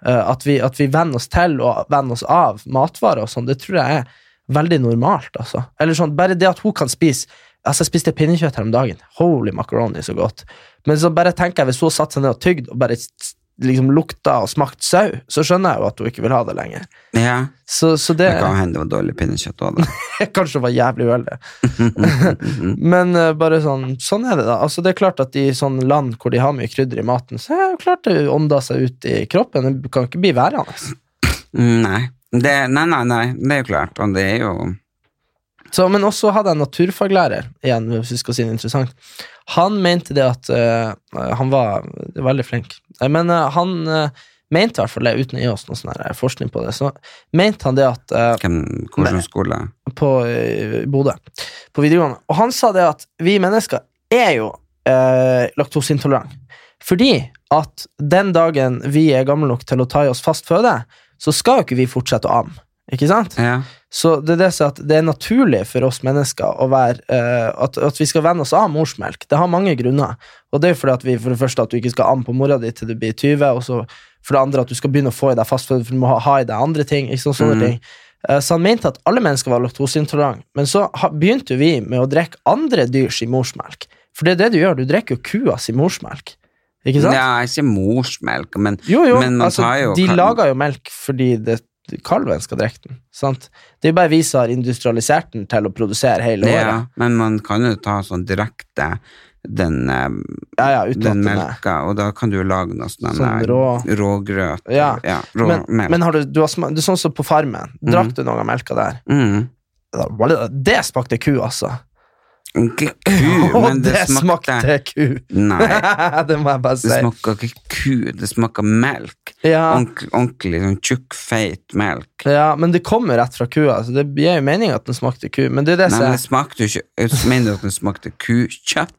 eh, at vi, at vi venner oss til og venner oss av matvarer og sånn, det tror jeg er veldig normalt, altså. Eller sånn, bare det at hun kan spise Altså, jeg spiste pinnekjøtt her om dagen. Holy macaroni, så godt. Men så bare tenker jeg, hvis hun satte seg ned og tygde, og bare s- liksom lukta og smakte sau, så skjønner jeg jo at hun ikke vil ha det lenger.
Ja.
Så, så det
Det kan hende det var dårlig pinnekjøtt òg, da.
Kanskje var jævlig uheldig. Men eh, bare sånn, sånn er det, da. Altså, det er klart at I sånne land hvor de har mye krydder i maten, så er det klart det ånder seg ut i kroppen. Det kan ikke bli værende.
Mm, Nei. Det, nei, nei, nei, det er jo klart. Og det er jo
Så, men også hadde jeg en naturfaglærer, igjen, hvis vi skal si det interessant. Han mente det at eh, Han var veldig flink. Eh, Men eh, han eh, mente i hvert fall det, uten å gi oss noe sånn her forskning på det, så mente han det at eh,
hvem, hvordan skole
på eh, Bodø på videregående. Og han sa det at vi mennesker er jo eh, laktoseintolerant. Fordi at den dagen vi er gamle nok til å ta i oss fast føde, så skal jo ikke vi fortsette å amme. Ikke sant?
Ja.
Så det er det som er at det er naturlig for oss mennesker å være, eh, at, at vi skal vende oss av morsmelk. Det har mange grunner. Og det er jo fordi at vi, for det første at du ikke skal amme på mora di til du blir 20, og så for det andre at du skal begynne å få i deg fastføde, for du må ha, ha i deg andre ting. ikke sant, sånne
Mhm.
ting. Eh, Så han mente at alle mennesker var laktoseintolerante, men så ha- begynte jo vi med å drikke andre dyrs i morsmelk. For det er det du gjør, du drikker jo kuas i morsmelk. Ikke sant?
ja, ikke morsmelk, men
Jo, jo,
Men man
altså,
tar jo
de
kal-
lager jo melk fordi det, kalven skal drikke den. Sant? Det er bare vi som har industrialisert den til å produsere hele
ja,
året.
Men man kan jo ta sånn direkte den, eh,
Ja, ja,
den
uten at den er.
melka, og da kan du jo lage noe sånn
Sånn
der
rå-
rågrøt.
Ja, Men,
råmelk.
men har du, du har sma- du, sånn som på farmen,
Mhm.
drakk du noe av melka der?
mm.
Det smakte ku, altså!
Ikke ku,
Å,
men det, smakte,
ku!
Nei,
det må jeg bare si.
det smakte ikke ku, det smakte melk.
ja.
Ordentlig, ordentlig sånn tjukk, feit melk.
ja, men det kommer rett fra kua, så det gir jo mening at den smakte ku. Men det er det
Nei,
som
men
er-
det smakte jo ikke jeg Mener du at det smakte kukjøtt?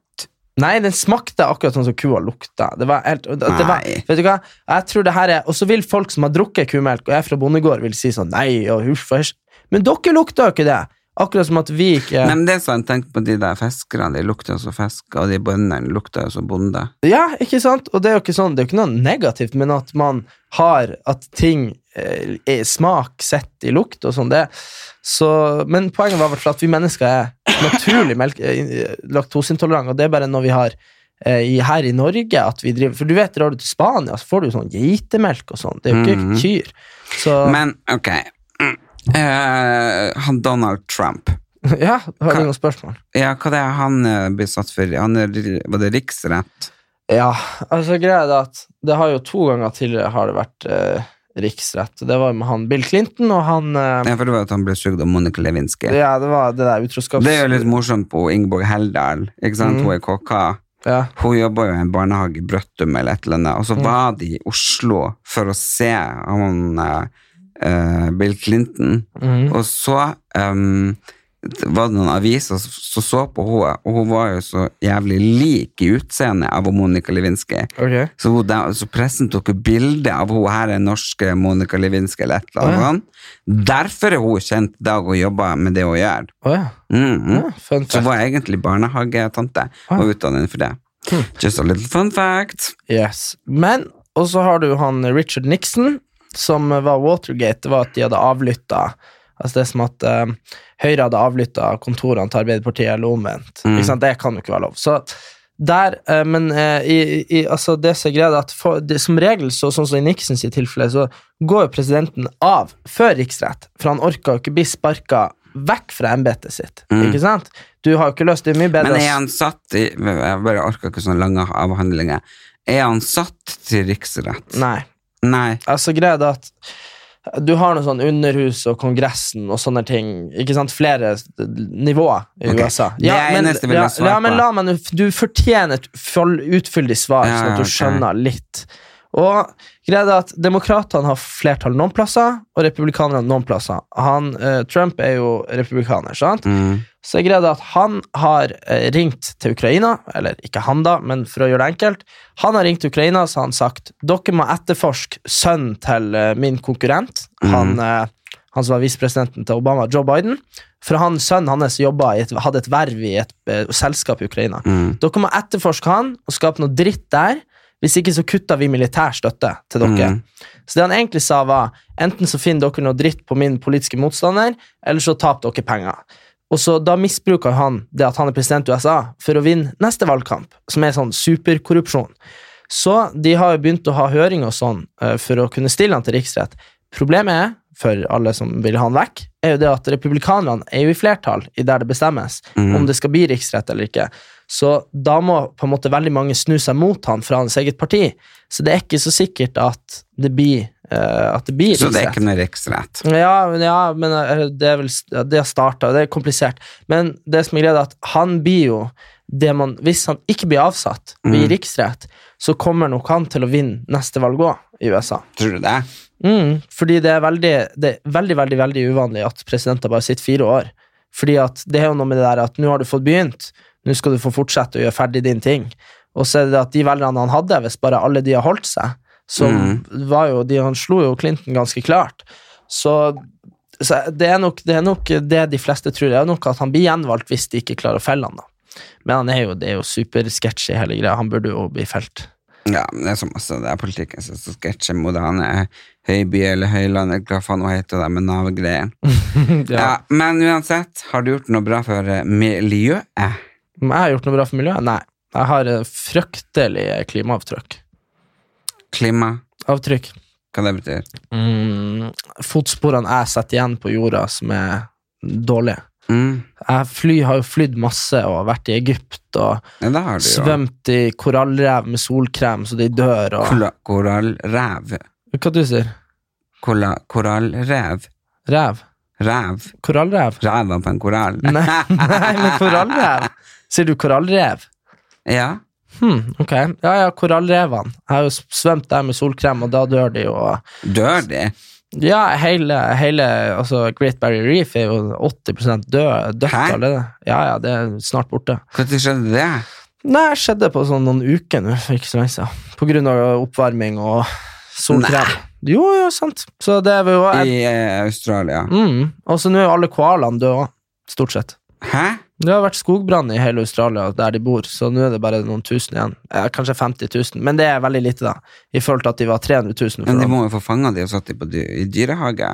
Nei, den smakte akkurat sånn som kua lukta. Det var helt, det var,
Nei.
vet du hva? Jeg tror det her er, Og så vil folk som har drukket kumelk, og jeg er fra bondegård, vil si sånn Nei, og huff og hysj. Men dere lukta jo ikke det! Akkurat som at vi ikke
Nei, men det er sant. Tenk på de der fiskerne, de lukter jo som fisk, og de bøndene lukter jo som bonde.
Ja, ikke sant? Og det er jo ikke sånn, det er jo ikke noe negativt, men at man har At ting eh, er smak sett i lukt og sånn, det så, Men poenget var i hvert fall at vi mennesker er naturlig melk- eh, laktoseintolerante, og det er bare når vi har eh, i, her i Norge at vi driver For du vet, drar du til Spania, så får du sånn geitemelk og sånn. Det er jo ikke
Mhm.
kyr. Så
Men ok Mm. Eh, Han Donald Trump
Ja, har du noen spørsmål?
Ja, hva det er han eh, blir satt for? Han er, var det riksrett?
Ja, altså greia er det at det har jo to ganger tidligere har det vært eh, riksrett. Det var med han Bill Clinton og han eh,
Ja, for det var at han ble sugd av Monica Lewinsky.
Ja, det var det der utroskaps...
Det er jo litt morsomt på Ingeborg Heldal. Ikke sant?
Mm.
Hun er kokka.
ja.
Hun jobba jo i en barnehage i Brøttum eller et eller annet, og så
Mm.
var de i Oslo for å se han eh, eh, Bill Clinton.
Mhm.
Og så em, det var det noen aviser som som så på henne, og hun var jo så jævlig lik i utseendet av hun Monica Lewinsky.
Ok.
Så, hun, da- så pressen tok jo bilde av hun her er norske Monica Lewinsky eller et eller
Å, ja.
annet. sånn. Derfor er hun kjent i dag og jobber med det hun gjør.
Å ja.
Mhm.
ja. Fun
Så
fact.
var jeg egentlig barnehagetante
Ah.
og utdannet for det.
Hmm.
Just a little fun fact.
Yes. Men, og så har du han Richard Nixon, som var Watergate. Det var at de hadde avlytta Altså det er som at eh, Høyre hadde avlytta kontorene til Arbeiderpartiet, eller omvendt.
Mm.
Ikke sant? Det kan jo ikke være lov. Så Der, eh, men eh, i, i, altså det som er greia, er at for, det, som regel, så, sånn som i Nixons tilfelle, så går jo presidenten av før riksrett, for han orker jo ikke bli sparka vekk fra embetet sitt.
Mm.
Ikke sant? Du har jo ikke løst det er mye bedre
Men
å
er
s-
han satt i Jeg bare orker ikke sånne lange avhandlinger. Er han satt til riksrett?
Nei.
Nei.
Altså, greia er at du har noe sånn underhus og Kongressen og sånne ting. Ikke sant? Flere s- nivåer i
Ok.
USA.
Det er eneste jeg vil ha
ja,
svar
ja,
på.
men la meg nå f- Du fortjener et full- utfyldig svar,
Ja,
sånn at du
ok.
skjønner litt. Og greia er at Demokratene har flertall noen plasser, og republikanerne noen plasser. Han, eh, Trump er jo republikaner, sant?
Mm.
Så er greia det at han har eh, ringt til Ukraina, eller ikke han da, men for å gjøre det enkelt, han har ringt til Ukraina så har han sagt dere må etterforske sønnen til eh, min konkurrent, han, eh, han som var visepresidenten til Obama, Joe Biden, for han sønnen hans jobba i et, hadde et verv i et eh, selskap i Ukraina.
Mm.
Dere må etterforske han og skape noe dritt der, hvis ikke så kutter vi militær støtte til dere.
Mm.
Så det han egentlig sa var, enten så finner dere noe dritt på min politiske motstander, eller så taper dere penger. Og så da misbruker han det at han er president i USA, for å vinne neste valgkamp, som er sånn superkorrupsjon. Så de har jo begynt å ha høring og sånn eh, for å kunne stille han til riksrett. Problemet er, for alle som vil ha han vekk, er jo det at republikanerne er jo i flertall i der det bestemmes
Mhm.
om det skal bli riksrett eller ikke. Så da må på en måte veldig mange snu seg mot han fra hans eget parti. Så det er ikke så sikkert at det blir, eh, at det blir
Så det er
riksrett.
ikke noe riksrett.
Ja, men- ja, men eh, det er vel ja, Det har starta, og det er komplisert. Men det som er greia, er at han blir jo det man Hvis han ikke blir avsatt blir
Mm.
riksrett, så kommer nok han til å vinne neste valg òg i USA.
Tror du det?
Mm, fordi det er, veldig, det er veldig, veldig veldig uvanlig at presidenter bare sitter fire år. Fordi at det er jo noe med det der at nå har du fått begynt, nå skal du få fortsette å gjøre ferdig din ting. Og så er det det at de velgerne han hadde, hvis bare alle de har holdt seg, så var jo de Han slo jo Clinton ganske klart. Så, så det, er nok, det er nok det de fleste tror, det er nok at han blir gjenvalgt hvis de ikke klarer å felle han da. Men han er jo, det er jo supersketsjy, hele greia. Han burde jo bli felt.
Ja, men det er så masse det er politikken som så sketsjer mot han er Høyby eller Høyland, eller hva faen hun heter det med Nav-greien. Ja. men uansett, har du gjort noe bra for eh, miljøet?
Om jeg har gjort noe bra for miljøet? Nei. Jeg har eh, fryktelig klimaavtrykk.
Klima?
Avtrykk.
Hva det betyr?
Mm, fotsporene jeg setter igjen på jorda, som er dårlige.
Mm.
Jeg fly, har jo flydd masse og vært i Egypt og
Ja, det har du jo.
svømt i korallrev med solkrem så de dør og
Kola- Korallrev.
Hva du sier
Kola, korallrev.
Rev?
Rev.
Korallrev?
Ræva på en korall.
Nei, nei, men korallrev? Sier du korallrev?
Ja.
Hm, ok. Ja, ja, korallrevene. Jeg har jo svømt der med solkrem, og da dør de jo. og
Dør de?
Ja, hele, hele altså Great Barrier Reef er jo 80 død, dødt
Hæ?
allerede. Ja, ja, det er snart borte.
Når skjedde det?
Nei, det skjedde på sånn noen uker nå, for ikke så lenge siden. På grunn av oppvarming og solkrem. Jo, jo, sant. Så det var jo
I eh, Australia.
mm. Og så nå er jo alle koalaene døde òg, stort sett.
Hæ?
Det har vært skogbrann i hele Australia, der de bor, så nå er det bare noen tusen igjen. Eh, kanskje 50 000, men det er veldig lite, da. I forhold til at de var 300 000.
Men
for
de
noen-
må jo få fanga de og satt de på dy i dyrehage.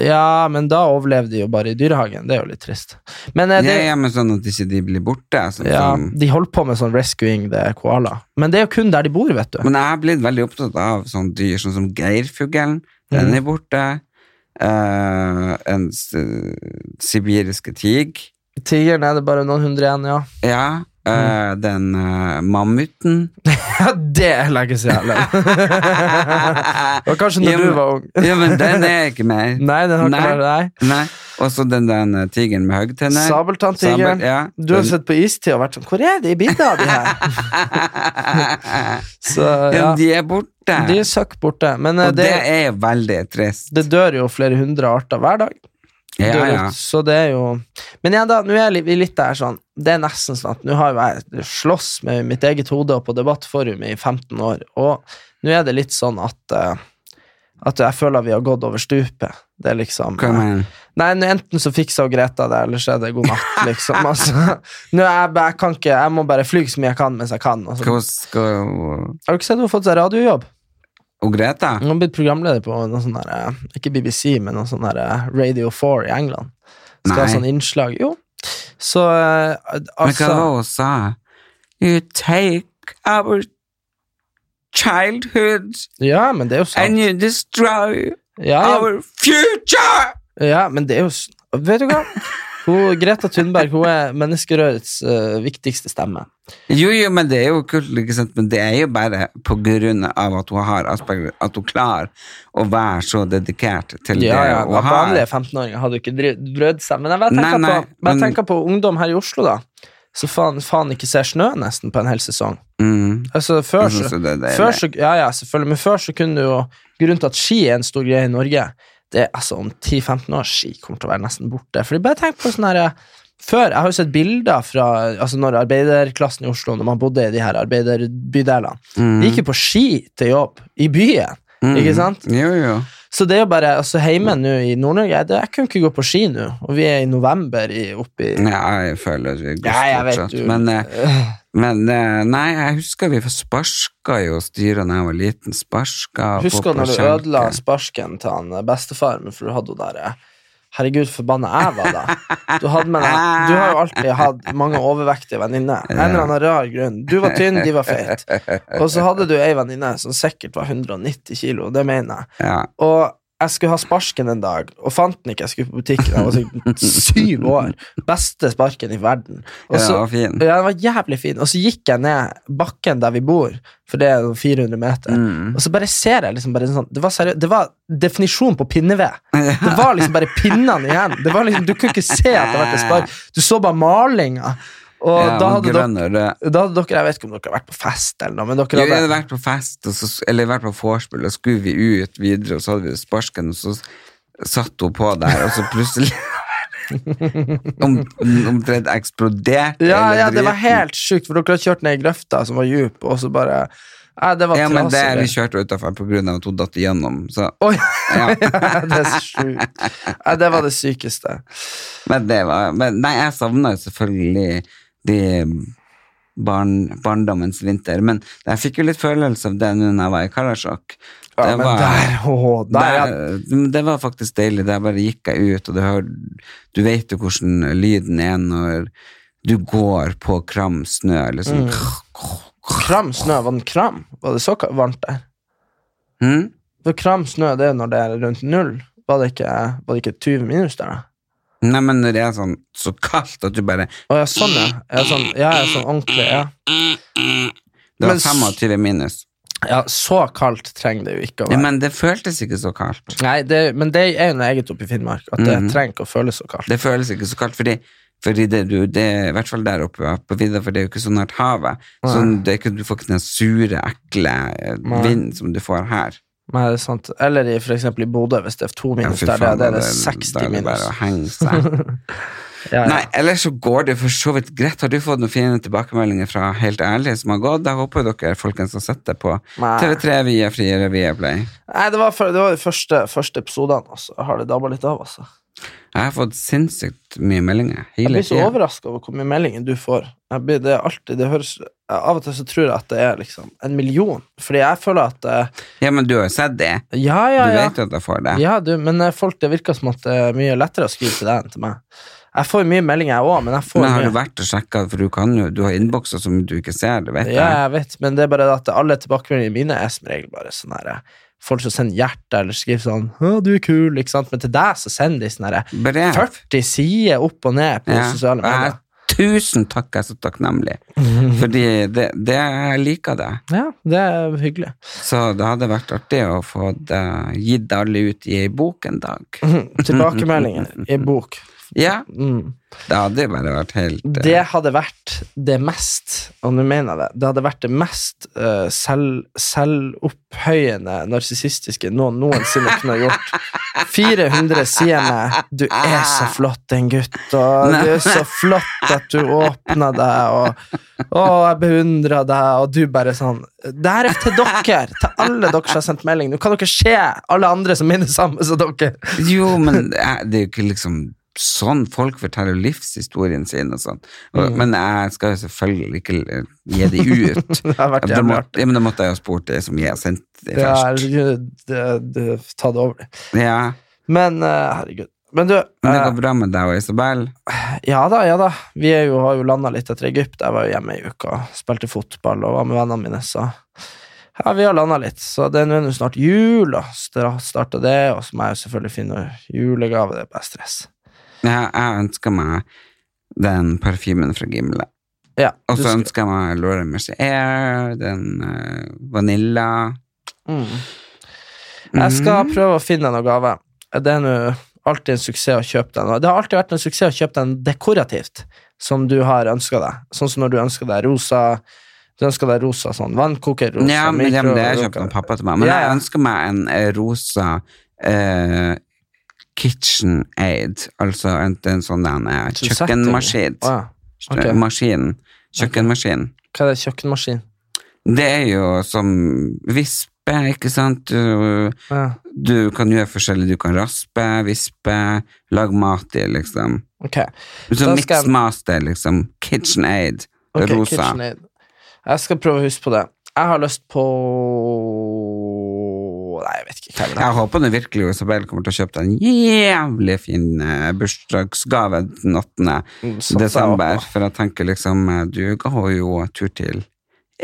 Ja, men da overlevde de jo bare i dyrehagen. Det er jo litt trist. Men eh,
Ja,
det,
ja, men sånn at ikke de blir borte. Sånn,
Ja,
som-
de holdt på med sånn rescuing the koala. Men det er jo kun der de bor, vet du.
Men jeg har blitt veldig opptatt av sånne dyr, sånn som geirfuglen. Den
Mhm.
er borte. Eh, en s- sibiriske tig.
Tigeren er det bare noen hundre igjen, ja.
Ja. eh,
Mm.
Den eh, mammuten.
Ja, det er lenge siden. Eller?
ja,
Og kanskje når
Ja, men-
du var ung.
men den er ikke mer.
Nei, den har ikke
Nei.
vært deg.
Nei. Og så den der eh, tigeren med høgtenner. Sabel-
Sabeltanntigeren.
ja.
Du har
Den-
sett på istid og vært sånn Hvor er de bildene av de her? Så ja,
Ja, de er borte.
de søkk borte. Men eh,
og
det,
det er jo veldig trist.
det dør jo flere hundre arter hver dag.
Ja,
dør ut,
ja.
Så det er jo Men igjen, da, nå er vi litt der sånn Det er nesten sånn at nå har jo jeg slåss med mitt eget hode og på debattforum i 15 år, og nå er det litt sånn at eh, At jeg føler vi har gått over stupet. Det er liksom
Hva mener du?
Nei, nå enten så fikser Greta det, eller så er det god natt, liksom. Altså, nå er jeg, jeg kan ikke Jeg må bare fly så mye jeg kan mens jeg kan. og så-
Hva skal
Har du ikke sett hun har fått seg radiojobb?
Og Greta?
Hun har blitt programleder på noe sånn der, eh, ikke BBC, men noe sånn der eh, Radio 4 i England. Skal ha
Nei.
sånn innslag. Jo. Så eh,
Men hva
altså
var det hun sa? You take our childhood
Ja, men det er jo sant.
and you destroy
Ja, ja,
our future!
ja, men det er jo s- Vet du hva? Hun, Greta Thunberg hun er menneskerørets eh, viktigste stemme.
Jo, jo, men det er jo kult, ikke sant? Men det er jo bare på grunn av at hun har Asperger, at hun klarer å være så dedikert til
Ja, ja,
det hun har.
Vanlige 15-åringer hadde jo ikke dri- brødd seg. Men jeg bare tenker,
Nei, nei,
på, bare
men-
tenker på ungdom her i Oslo, da. Så faen, faen ikke ser snø nesten på en hel sesong.
Mm.
Altså, før
Jeg
så,
synes jo det er deilig.
før så, ja, ja, selvfølgelig, men før så kunne du jo Grunnen til at ski er en stor greie i Norge, det er altså om 10-15 år ski kommer til å være nesten borte. Fordi bare tenk på sånn her Før, Jeg har jo sett bilder fra altså når arbeiderklassen i Oslo når man bodde i de her arbeiderbydelene.
Mm.
De gikk jo på ski til jobb i byen.
Mm.
Ikke sant?
Jo, jo.
Så det er jo bare altså Hjemme nå i Nord-Norge jeg, jeg kunne ikke gå på ski nå, og vi er i november i, oppe i
Ja, jeg føler vi går
Ja, jeg vet
fortsatt.
jo.
Men, eh, men eh, nei, jeg husker vi sparka jo styret da jeg var liten. Sparka på-
Husker
på
du når du
skjenken.
ødela sparken til han eh, bestefar min, for du hadde jo der eh, Herregud, forbanna jeg var da. Du, hadde med deg, du har jo alltid hatt mange overvektige venninner. En eller annen rar grunn. Du var tynn, de var feite. Og så hadde du ei venninne som sikkert var 190 kilo, det mener jeg.
Ja.
Og jeg skulle ha sparken en dag, og fant den ikke. Jeg skulle på butikken, jeg var sikkert syv år. Beste sparken i verden. Og
ja,
så,
det var fin.
ja, den var jævlig fin. Og så gikk jeg ned bakken der vi bor, for det er noen 400 meter.
Mm.
Og så bare ser jeg liksom bare sånn Det var, seriø- det var definisjonen på pinneved. Det var liksom bare pinnene igjen. Det var liksom, du kunne ikke se at det var et spark. Du så bare malinga. Og
Ja,
da,
og
hadde dere,
grønn og rød.
da hadde dere Jeg vet ikke om dere har vært på fest, eller noe, men
Jo,
dere
vi hadde
hadde
vært på fest, og så, eller vært på vorspiel, og så skulle vi ut videre, og så hadde vi sparsken, og så satt hun på der, og så plutselig om, Omtrent eksploderte
Ja,
hele
ja, det var
driten.
helt sjukt, for dere hadde kjørt ned i grøfta som var djup, og så bare Nei, det var
Ja, men det vi
trasig.
kjørte utafor på grunn av at hun datt igjennom, så
Oi,
ja.
det er sjukt. Nei, det var det sykeste.
Men det var men, Nei, jeg savna jo selvfølgelig de barn, barndommens vinter, men jeg fikk jo litt følelse av det nå når jeg var i Karasjok.
Ja,
Det
men
var-
der, åh, der, ja.
Der, eh, det var faktisk deilig. Der bare gikk jeg ut, og det hør, du vet jo hvordan lyden er når du går på kram snø. Liksom.
Mm. Kram snø, var den kram? Var det så ka- varmt der?
Hm?
For kram snø, det er når det er rundt null. Var det ikke, var det ikke 20 minus der, da?
Nei, men når det er sånn så kaldt at du bare
Å ja, sånn, ja. Ja, sånn, ja, ja, sånn ordentlig, ja.
Det var
Men s-
25 minus.
ja. Så kaldt trenger det jo ikke å
Ja,
være.
men det føltes ikke så kaldt.
Nei, det, men det er jo noe eget oppe i Finnmark, at det
Mhm.
trenger ikke å føles så kaldt.
Det føles ikke så kaldt, fordi, fordi det, du, det er i hvert fall der oppe ja, på vidda, for det er jo ikke så nært havet. Så det er ikke, du får ikke den sure, ekle eh,
Nei.
vinden som du får her.
Nei, det er sant. Eller i, for eksempel i Bodø, hvis det er to
Ja,
minus
fy
der, det,
faen,
det er
da
det
da
60
er det
minus.
bare å henge seg.
Ja, ja.
Nei, ellers så går det for så vidt greit. Har du fått noen fine tilbakemeldinger fra Helt ærlig som har gått? Jeg håper dere folkens har sett det på
Nei.
TV3 via Friere via Play.
Nei, det var, for, det var de første, første episodene, altså. Jeg har det dabba litt av, altså.
Jeg har fått sinnssykt mye meldinger
Jeg
hele
blir så
tida.
overraska over hvor mye meldinger du får. Jeg blir, det er alltid, det høres, av og til så tror jeg at det er liksom en million, fordi jeg føler at eh,
Ja, men du har jo sett det.
Ja,
Du
ja, ja.
vet jo at jeg får det.
ja du, men eh, folk, det virker som at det er mye lettere å skrive til deg enn til meg. Jeg får mye meldinger, jeg òg, men jeg får
Men har du
mye.
vært og sjekka, for du kan jo Du har innbokser som du ikke ser, det vet
Ja,
jeg.
jeg vet, men det er bare at alle tilbakemeldingene mine er som regel bare sånn her eh, Folk som sender hjerter eller skriver sånn 'Å, du er kul', ikke sant, men til deg så sender de sånn her
Brev.
40 sider opp og ned på
Ja.
sosiale
Og jeg
medier.
er Tusen takk, jeg er så takknemlig. Fordi det, det jeg liker det.
Ja, det er hyggelig.
Så det hadde vært artig å få det- gitt alle ut i ei bok en dag.
Tilbakemeldinger i bok.
Ja,
Mm.
det hadde jo bare vært helt eh,
Det hadde vært det mest Og nå mener jeg det Det hadde vært det mest eh, selv, selvopphøyende narsissistiske noen noensinne kunne ha gjort. 400 sier meg 'Du er så flott, en gutt', og 'Du er så flott at du åpna deg', og 'Å, jeg beundra deg', og du bare sånn Det her er til dere! Til alle dere som har sendt melding. Nå kan dere se alle andre som minner samme som dere.
Jo, men jeg- det er jo ikke liksom sånn folk forteller jo livshistorien sin og sånn. Og,
Mm.
Men jeg skal jo selvfølgelig ikke eh, gi de ut.
Det har vært
Da
jævlig
må,
artig.
ja, men da måtte jeg jo spurt de som jeg har sendt de
Ja,
først.
herregud, det- det- Ta det over.
Ja.
Men eh, herregud Men du,
Men det
eh,
går bra med deg og Isabel.
Ja da, ja da. Vi er jo, har jo landa litt etter Egypt. Jeg var jo hjemme i uka, spilte fotball og var med vennene mine, så ja, vi har landa litt. Så det er nå nå snart jul, og starta det, og så må jeg jo selvfølgelig finne julegave. Det er bare stress.
Jeg, jeg ønsker meg den parfymen fra Gimle.
Ja,
Og
du
så
skal-
ønsker jeg meg Laura Mercier, den eh, Vanilla Mm.
mm. Jeg skal
Mhm.
prøve å finne noen gave. Det er nå alltid en suksess å kjøpe den. og Det har alltid vært en suksess å kjøpe den dekorativt, som du har ønska deg. Sånn som når du ønsker deg rosa Du ønsker deg rosa sånn vannkokerrosa.
Ja, men, ja, men det har jeg
mikrorovroka-
kjøpt av pappa til meg. Men
Ja, ja.
jeg ønsker meg en eh, rosa eh, kitchen aid, altså en, en sånn der, eh,
Så du setter den-
kjøkkenmaskin.
Å, ja. ok.
Maskin. Kjøkkenmaskin.
Hva er det, kjøkkenmaskin?
Det er jo som vispe, ikke sant? Du,
Ja,
du kan gjøre forskjellig. Du kan raspe, vispe, lage mat i, liksom.
ok.
Så
Da skal jeg-
mixmaster, liksom. Kitchen aid.
Ok,
rosa.
KitchenAid. Jeg skal prøve å huske på det. Jeg har lyst på Nei, jeg vet ikke hva jeg vil ha.
Jeg håper nå virkelig Isabel kommer til å kjøpe deg en jævlig fin eh, bursdagsgave den 8.
Satser jeg
desember.
på.
For jeg tenker liksom eh, Du ga henne jo tur til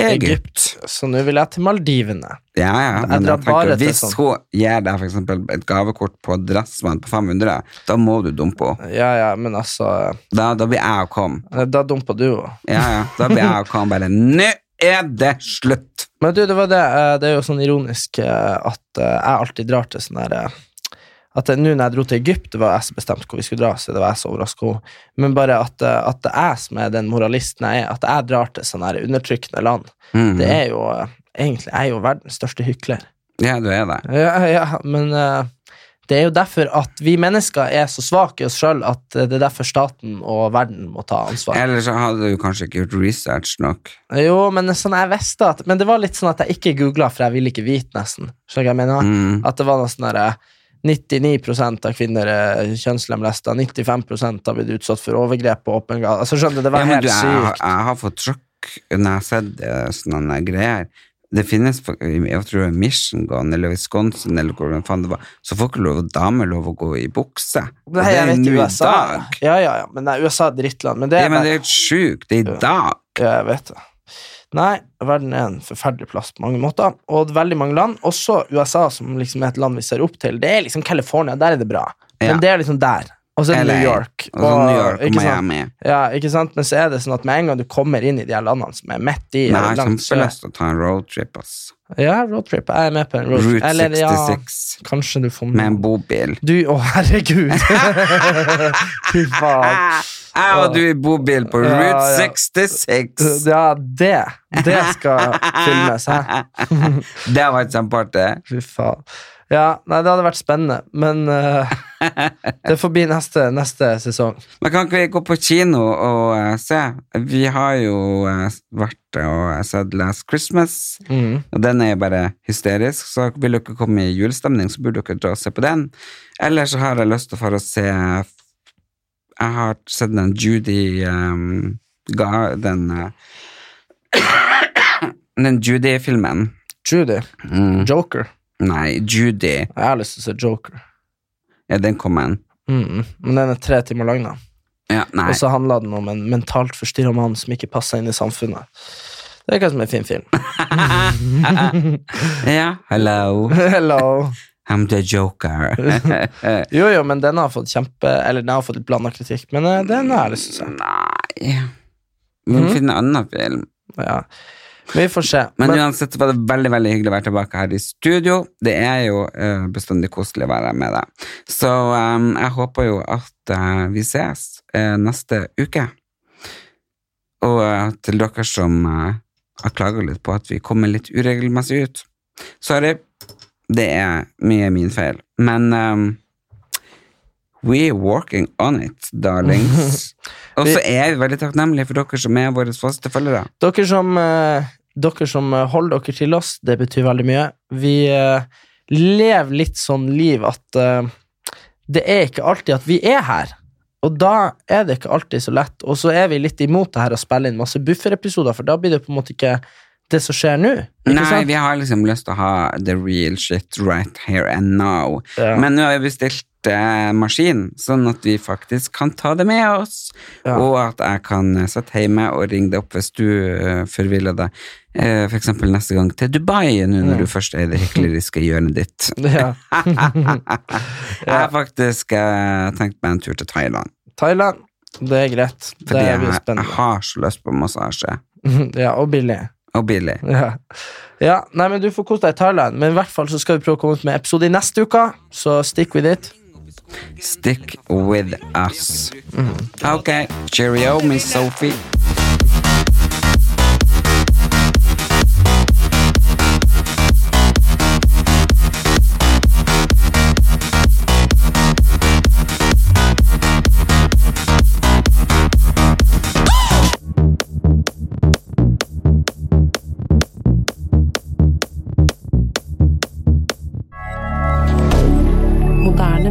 Egypt.
Så nå vil jeg til Maldivene.
Ja, ja,
Jeg
men
drar
jeg tenker,
bare til
hvis
sånn.
hun gir deg for eksempel et gavekort på Dressmann på 500, da må du dumpe henne.
Ja, ja, men altså
Da, da blir jeg og Kom.
eh, Da dumpa du jo.
Ja, ja, da blir jeg og Kom bare Nå er det slutt!
Men du, det var det. eh, Det er jo sånn ironisk eh, at eh, jeg alltid drar til sånn der eh, at det- Nå når jeg dro til Egypt, det var jeg som bestemte hvor vi skulle dra. så det var jeg som overrasket henne. Men bare at, eh, at det er jeg som er den moralisten jeg er. At jeg drar til sånne her undertrykkende land.
Mm.
Det er jo eh, egentlig Jeg er jo verdens største hykler.
Ja, du er det.
Ja, ja, men eh, det er jo derfor at vi mennesker er så svake i oss sjøl at eh, det er derfor staten og verden må ta ansvar.
Ellers så hadde du kanskje ikke gjort research nok.
Jo, men sånn jeg visste at Men det var litt sånn at jeg ikke googla, for jeg ville ikke vite, nesten. Skjønner du hva jeg mener?
Mm.
At det var noe sånn derre 99 av kvinner eh, er kjønnslemlesta, 95 har blitt utsatt for overgrep på åpen gate. Altså, skjønner du, det var
Ja, men
helt
du, jeg,
sykt.
jeg, jeg har fått sjokk når jeg har sett eh, sånne greier. Det finnes, for- jeg tror det er Michigan eller Wisconsin eller hvor faen det var, så får ikke lov, damer lov å gå i bukse. Og
Nei, jeg
er
vet
nå i
USA.
dag.
Ja, ja, ja. Men nei, USA er drittland. Men det
Ja,
er
men
bare-
det er helt sjukt. Det er i dag.
Ja, jeg vet det. Nei, verden er en forferdelig plass på mange måter, og veldig mange land, også USA, som liksom er et land vi ser opp til. Det er liksom California, der er det bra,
Ja.
men det er liksom der. Og så er det
LA,
New York.
Og så New York og
ikke sant?
Miami.
Ja, ikke sant? Men så er det sånn at med en gang du kommer inn i de her landene som er midt
Men
i
jeg
eller
har
langt sør-
kjempelyst til å ta en roadtrip, ass.
Ja, roadtrip. Jeg er med på en roadtrip.
Route
Eller, ja,
66
kanskje du får
med en bobil.
Du, å herregud! Fy faen.
Ah, Jeg og du i bobil på
Ja,
Route
ja.
66!
Ja, det. Det skal filmes, hæ?
Det var et kjempeartig.
Fy faen. Ja, nei, det hadde vært spennende, men eh, det får bli neste, neste sesong.
Men kan ikke vi gå på kino og eh, se? Vi har jo eh, vært og eh, sett Last Christmas,
Mm.
og den er jo bare hysterisk, så vil dere komme i julestemning, så burde dere dra og se på den. Ellers så har jeg lyst til for å se Jeg har sett den Judy um, ga, Den eh, Den Judy-filmen.
Judy.
Mm.
Joker.
Nei, Judy.
Jeg har lyst til å se Joker.
Ja, den kom en.
Mm. Men den er tre timer lang, da.
Ja, nei.
Og så handla den om en mentalt forstyrra mann som ikke passer inn i samfunnet. Det virker som en fin film.
Ja, hello.
Hello.
I'm the joker.
Jo, jo, men den har fått kjempe Eller den har fått blanda kritikk, men eh, den har jeg lyst til å se.
Nei Vi må
Mhm.
finne en annen film.
Ja. Men vi får se.
Men,
Men,
uansett var det veldig veldig hyggelig å være tilbake her i studio. Det er jo eh, bestandig koselig å være med deg. Så em, jeg håper jo at eh, vi ses eh, neste uke. Og eh, til dere som eh, har klaga litt på at vi kommer litt uregelmessig ut. Sorry. Det er mye min feil. Men em, We're working on it, darlings. Og så er vi veldig takknemlige for dere som er våre faste følgere.
Dere som, eh, dere som eh, holder dere til oss, det betyr veldig mye. Vi eh, lever litt sånn liv at eh, det er ikke alltid at vi er her. Og da er det ikke alltid så lett. Og så er vi litt imot det her å spille inn masse bufferepisoder, for da blir det på en måte ikke det som skjer nå. Ikke
Nei,
sant?
vi har liksom lyst til å ha the real shit right here and now.
Ja.
Men nå har vi bestilt eh, maskin, sånn at vi faktisk kan ta det med oss.
Ja.
Og at jeg kan eh, sitte hjemme og ringe deg opp hvis du eh, forviller deg. Eh, for eksempel neste gang til Dubai, nå når du først er i det hykleriske hjørnet ditt.
ja.
Jeg har faktisk eh, tenkt meg en tur til Thailand,
Thailand, det er greit.
fordi
det er jo
jeg, jeg
spennende.
har så lyst på massasje.
ja, og billig.
Og billig.
Ja. ja, nei, men Du får kose deg i Thailand, men i hvert fall så skal vi prøve å komme ut med episode i neste uke. Så stick with it.
Stick with us.
Mm.
Ok, cheerio, Miss Sophie.
Moderne